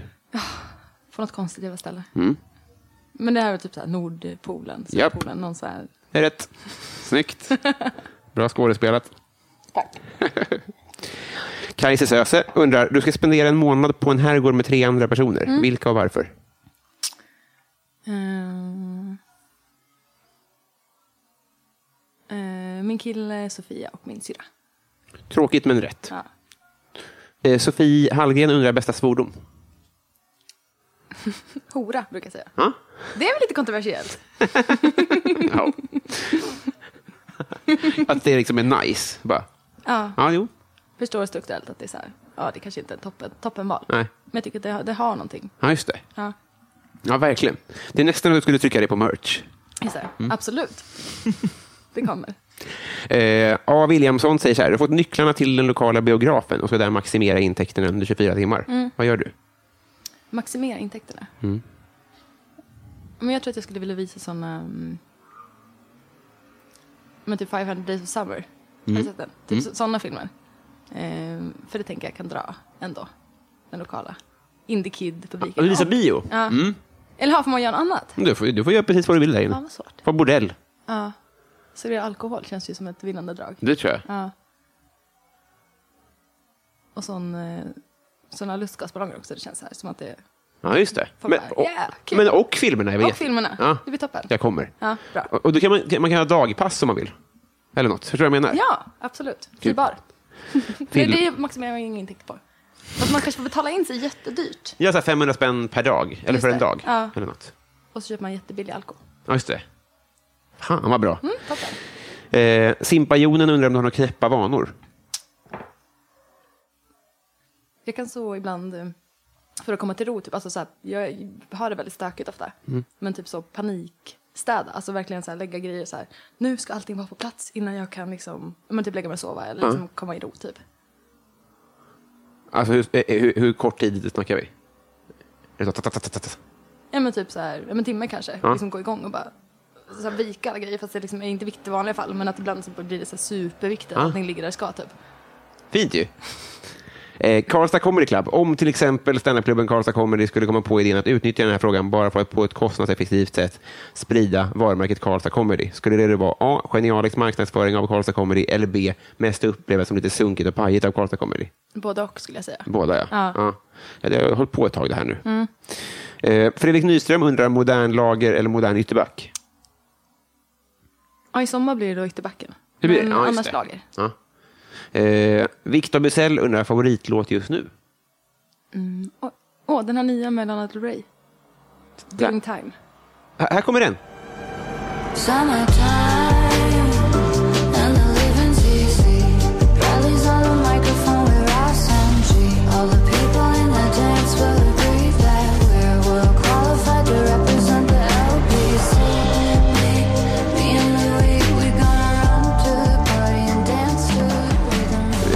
Speaker 2: På något konstigt jävla ställe. Men det här var typ så här Nordpolen,
Speaker 1: Mm. Japp.
Speaker 2: Sydpolen, någon så här...
Speaker 1: Det är rätt. Snyggt. Bra skådespelat. Tack. Kajse Söse undrar, du ska spendera en månad på en herrgård med tre andra personer. Vilka och varför?
Speaker 2: Ehm. Ehm, min kille Sofia och min syrra.
Speaker 1: Tråkigt men rätt.
Speaker 2: Ja.
Speaker 1: Eh, Sofie Hallgren undrar bästa svordom.
Speaker 2: Hora, brukar jag säga.
Speaker 1: Ja.
Speaker 2: Det är väl lite kontroversiellt?
Speaker 1: Ja. att det liksom är nice. Bara.
Speaker 2: Ja.
Speaker 1: Ja, jo.
Speaker 2: Förstår strukturellt att det är så här, ja det kanske inte är toppen, toppenval.
Speaker 1: Nej.
Speaker 2: Men jag tycker att det, har- det har någonting.
Speaker 1: Ja, just det.
Speaker 2: Ja,
Speaker 1: Ja, verkligen. Det är nästan att du skulle trycka dig på merch.
Speaker 2: just det. Absolut. Det kommer.
Speaker 1: Eh, A. Williamson säger så här, du har fått nycklarna till den lokala biografen och ska där maximera intäkterna under 24 timmar.
Speaker 2: Mm.
Speaker 1: Vad gör du?
Speaker 2: Maximera intäkterna. Men jag tror att jag skulle vilja visa såna... mm, Men typ 500 Days of Summer. Har du sett den? Typ så- såna filmer. Ehm, för det tänker jag kan dra ändå. Den lokala. Indie Kid-publiken.
Speaker 1: Visa
Speaker 2: Och-
Speaker 1: bio?
Speaker 2: Ja. Eller ha, får man göra något annat?
Speaker 1: Du får, du får göra precis vad du vill där
Speaker 2: Ja,
Speaker 1: inne.
Speaker 2: vad svårt.
Speaker 1: På bordell.
Speaker 2: Ja. Servera alkohol känns ju som ett vinnande drag.
Speaker 1: Det tror jag.
Speaker 2: Ja. Och sån, eh, såna lustgasballonger också. Det känns så här som att det...
Speaker 1: Ja, just det.
Speaker 2: Får
Speaker 1: Men,
Speaker 2: bara,
Speaker 1: och,
Speaker 2: yeah, kul.
Speaker 1: men och filmerna. är väl
Speaker 2: Och
Speaker 1: jätte-
Speaker 2: filmerna.
Speaker 1: Ja.
Speaker 2: Det blir toppen.
Speaker 1: Jag kommer.
Speaker 2: Ja, bra.
Speaker 1: Och, och då kan man, kan- man kan ha dagpass om man vill. Eller något. Förstår du vad jag menar?
Speaker 2: Ja, absolut.
Speaker 1: Kul.
Speaker 2: Fribar. Det,
Speaker 1: Film.
Speaker 2: det maximerar man ingen intäkt på. Fast man kanske får betala in sig jättedyrt.
Speaker 1: Jag har 500 spänn per dag. Eller
Speaker 2: Just
Speaker 1: för en
Speaker 2: det.
Speaker 1: dag.
Speaker 2: Ja.
Speaker 1: Eller något.
Speaker 2: Och så köper man jättebillig alkohol.
Speaker 1: Ja, just det. Fan, vad bra.
Speaker 2: Mm, toppen.
Speaker 1: Eh, Simpajonen undrar om du har några knäppa vanor.
Speaker 2: Jag kan så ibland, eh, för att komma till ro, typ, alltså så här, jag har det väldigt stökigt ofta.
Speaker 1: Mm.
Speaker 2: Men typ så panikstäda, alltså verkligen så här, lägga grejer så här. Nu ska allting vara på plats innan jag kan liksom, men typ lägga mig och sova eller liksom komma i ro typ.
Speaker 1: Alltså hur, eh, hur, hur kort tid snackar vi? Är det så, ta, ta, ta, ta, ta.
Speaker 2: Ja men typ så här, ja, men timme kanske.
Speaker 1: Ja.
Speaker 2: Liksom gå igång och bara så här, vika alla grejer. Fast det liksom är inte viktigt i vanliga fall. Men att ibland så blir det så här superviktigt
Speaker 1: Ja.
Speaker 2: att allting ligger där det ska typ.
Speaker 1: Fint ju. Eh, Karlstad Comedy Club. Om till exempel standupklubben Karlstad Comedy skulle komma på idén att utnyttja den här frågan bara för att på ett kostnadseffektivt sätt sprida varumärket Karlstad Comedy. Skulle det då vara A. Genialisk marknadsföring av Karlstad Comedy eller B. Mest upplevas som lite sunkigt och pajigt av Karlstad Comedy?
Speaker 2: Både och skulle jag säga.
Speaker 1: Båda, ja.
Speaker 2: Ja.
Speaker 1: ja. ja det har hållit på ett tag det här nu. Eh, Fredrik Nyström undrar modern lager eller modern ytterback?
Speaker 2: Ja i sommar blir det då ytterbacken.
Speaker 1: Det blir det.
Speaker 2: Men
Speaker 1: Ja, just
Speaker 2: Mm, annars
Speaker 1: det. Ja.
Speaker 2: lager.
Speaker 1: Eh, Victor Bysell undrar favoritlåt just nu.
Speaker 2: Åh, åh, den här nya med Lana Del Rey. Doing time.
Speaker 1: Här här kommer den.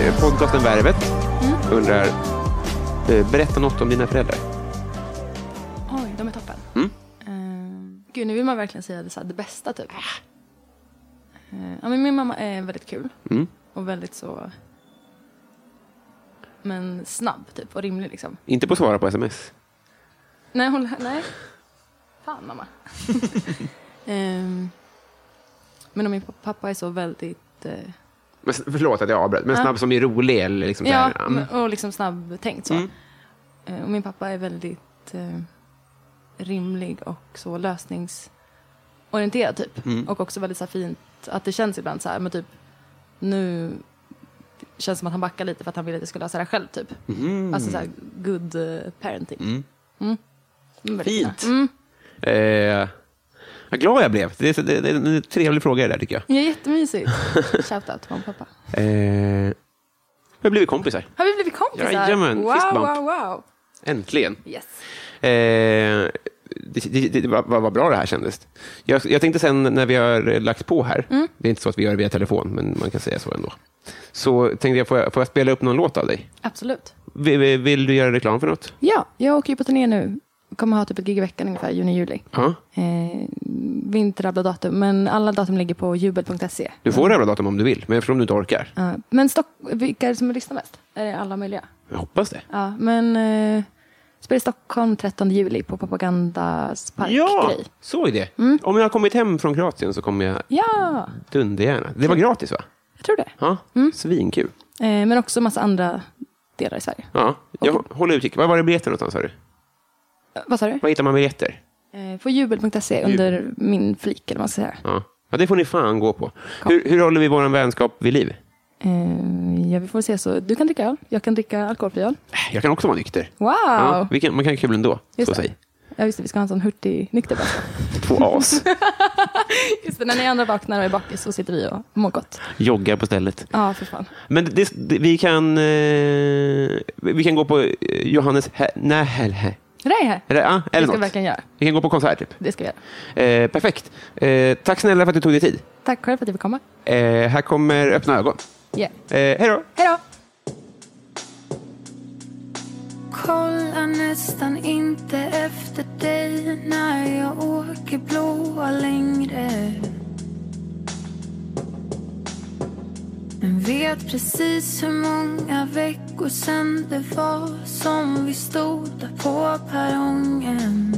Speaker 1: Eh, Podcasten Värvet undrar eh, Berätta något om dina föräldrar.
Speaker 2: Oj, de är toppen.
Speaker 1: Mm.
Speaker 2: Eh, gud, nu vill man verkligen säga det, så här, det bästa typ. Eh, ja, men min mamma är väldigt kul.
Speaker 1: Mm.
Speaker 2: Och väldigt så... Men snabb typ och rimlig liksom.
Speaker 1: Inte på att svara på sms.
Speaker 2: Nej, hon... Nej. Fan mamma. Ehm, men om min pappa är så väldigt... eh,
Speaker 1: Men, s- förlåt att jag avbröt, men snabb som är rolig. Eller liksom så
Speaker 2: Ja,
Speaker 1: här, ja, mm.
Speaker 2: men- och liksom snabbtänkt så. Eh, Och min pappa är väldigt eh, rimlig och så lösningsorienterad typ. Och också väldigt så här, fint att det känns ibland så här, men typ nu känns det som att han backar lite för att han ville att jag skulle lösa det här själv typ. Alltså så här good eh, parenting. Mm. Mm, väldigt
Speaker 1: Fint.
Speaker 2: bra. Mm.
Speaker 1: Eh, vad glad jag blev. Det är, så- det, det är en trevlig fråga det där tycker jag.
Speaker 2: Ja, jättemysigt. Shoutout till mamma och pappa.
Speaker 1: Eh, vi har blivit kompisar.
Speaker 2: Har vi blivit kompisar?
Speaker 1: Jajamän,
Speaker 2: wow,
Speaker 1: fistbump.
Speaker 2: wow, wow.
Speaker 1: Äntligen.
Speaker 2: Yes.
Speaker 1: Eh, det, det, det, vad, vad vad bra det här kändes. Jag, jag tänkte sen när vi har eh, lagt på här, det är inte så att vi gör det via telefon, men man kan säga så ändå. Så tänkte jag, får jag, får jag spela upp någon låt av dig?
Speaker 2: Absolut.
Speaker 1: Vill, vill- vill du göra reklam för något?
Speaker 2: Ja, jag åker ju på turné nu. Kommer ha typ ett gig i veckan ungefär, juni-juli.
Speaker 1: Ja.
Speaker 2: Eh, vi inte rabbla datum, men alla datum ligger på jubel.se.
Speaker 1: Du får röra datum om du vill, men eftersom du inte orkar.
Speaker 2: Ja, men Stock- vilka är det som lyssnar mest? Är det alla möjliga?
Speaker 1: Jag hoppas det.
Speaker 2: Ja, men eh, spelar i Stockholm 13 juli på Propagandas parkgrej.
Speaker 1: Ja, såg det. Om jag har kommit hem från Kroatien så kommer jag
Speaker 2: ja,
Speaker 1: dundergärna. Det var gratis va?
Speaker 2: jag tror det.
Speaker 1: Ja, svinkul.
Speaker 2: Eh, men också massa andra delar i Sverige.
Speaker 1: Ja, jag håller utkik. Var var det biljetter någonstans sa du?
Speaker 2: Eh, vad sa du?
Speaker 1: Var hittar man biljetter?
Speaker 2: Eh, på jubel.se under min flik, eller vad man ska säga.
Speaker 1: Ja. ja, det får ni fan gå på. Hur, hur håller vi vår vänskap vid liv?
Speaker 2: Eh, ja, vi får se så. Du kan dricka öl, jag kan dricka alkoholfri öl.
Speaker 1: Jag kan också vara nykter.
Speaker 2: Wow!
Speaker 1: Ja,
Speaker 2: Ja,
Speaker 1: vi kan, man kan ha kul ändå,
Speaker 2: Just
Speaker 1: så
Speaker 2: det.
Speaker 1: säg.
Speaker 2: just det, vi ska ha en sån hurtig nykter bara.
Speaker 1: Två as.
Speaker 2: Just det, när ni andra vaknar och är bakis så sitter vi och mår gott.
Speaker 1: Joggar på stället.
Speaker 2: Ja, för fan.
Speaker 1: Men det, det, vi, kan, eh, vi kan gå på eh, Johannes... Hä- Nej, hä- hä-
Speaker 2: Rej
Speaker 1: eller, ja,
Speaker 2: Det
Speaker 1: eller
Speaker 2: ska vi
Speaker 1: något.
Speaker 2: verkligen göra.
Speaker 1: Vi kan gå på konsert, typ.
Speaker 2: Det ska vi göra.
Speaker 1: Eh, perfekt. Eh, tack snälla för att du tog dig tid.
Speaker 2: Tack själv för att du fick komma.
Speaker 1: Eh, här kommer Öppna ögon.
Speaker 2: Yeah.
Speaker 1: Eh, hej då!
Speaker 2: Hej då!
Speaker 5: Kollar nästan inte efter dig när jag åker blåa längre. Men vet precis hur många veckor sen det var som vi stod där på perrongen.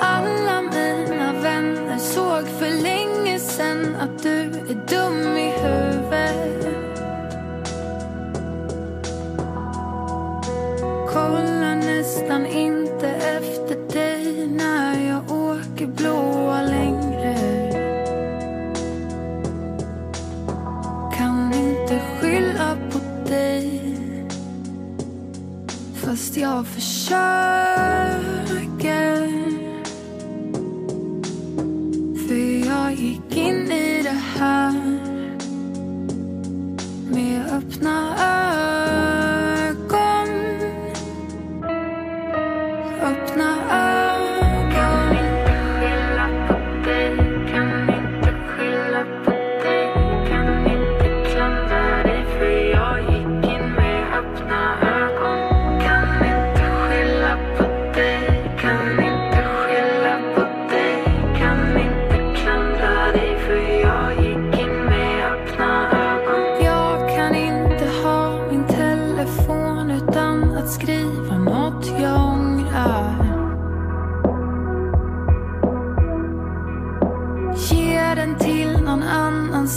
Speaker 5: Alla mina vänner såg för länge sen att du är dum i huvudet. Kollar nästan inte efter dig när jag åker blåa längre. Kan inte skylla på dig. Fast jag försöker. För jag gick in i det här med öppna ögon Öppna ögon Kan inte skylla på dig, kan inte skylla på dig, kan inte klandra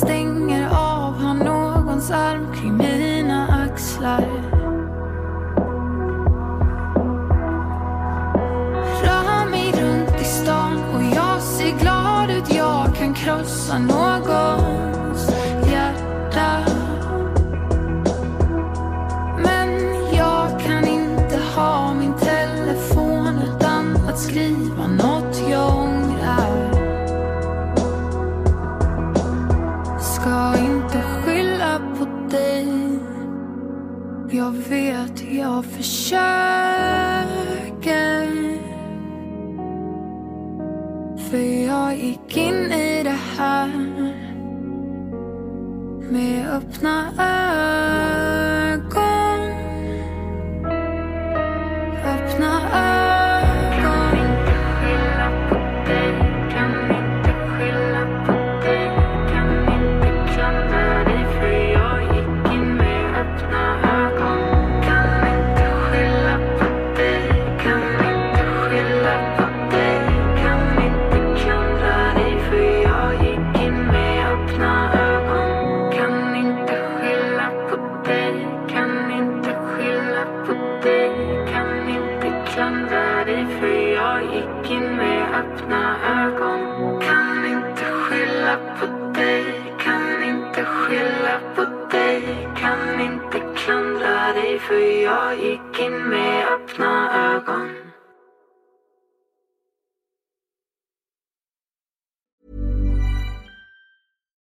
Speaker 5: hänger av Har någons arm kring mina axlar Rör mig runt i stan och jag ser glad ut Jag kan krossa någons hjärta Men jag kan inte ha min telefon utan att skriva något jag ångrar Ska inte skylla på dig Jag vet, jag försöker För jag gick in i det här Med öppna ögon Öppna ögon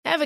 Speaker 6: Ever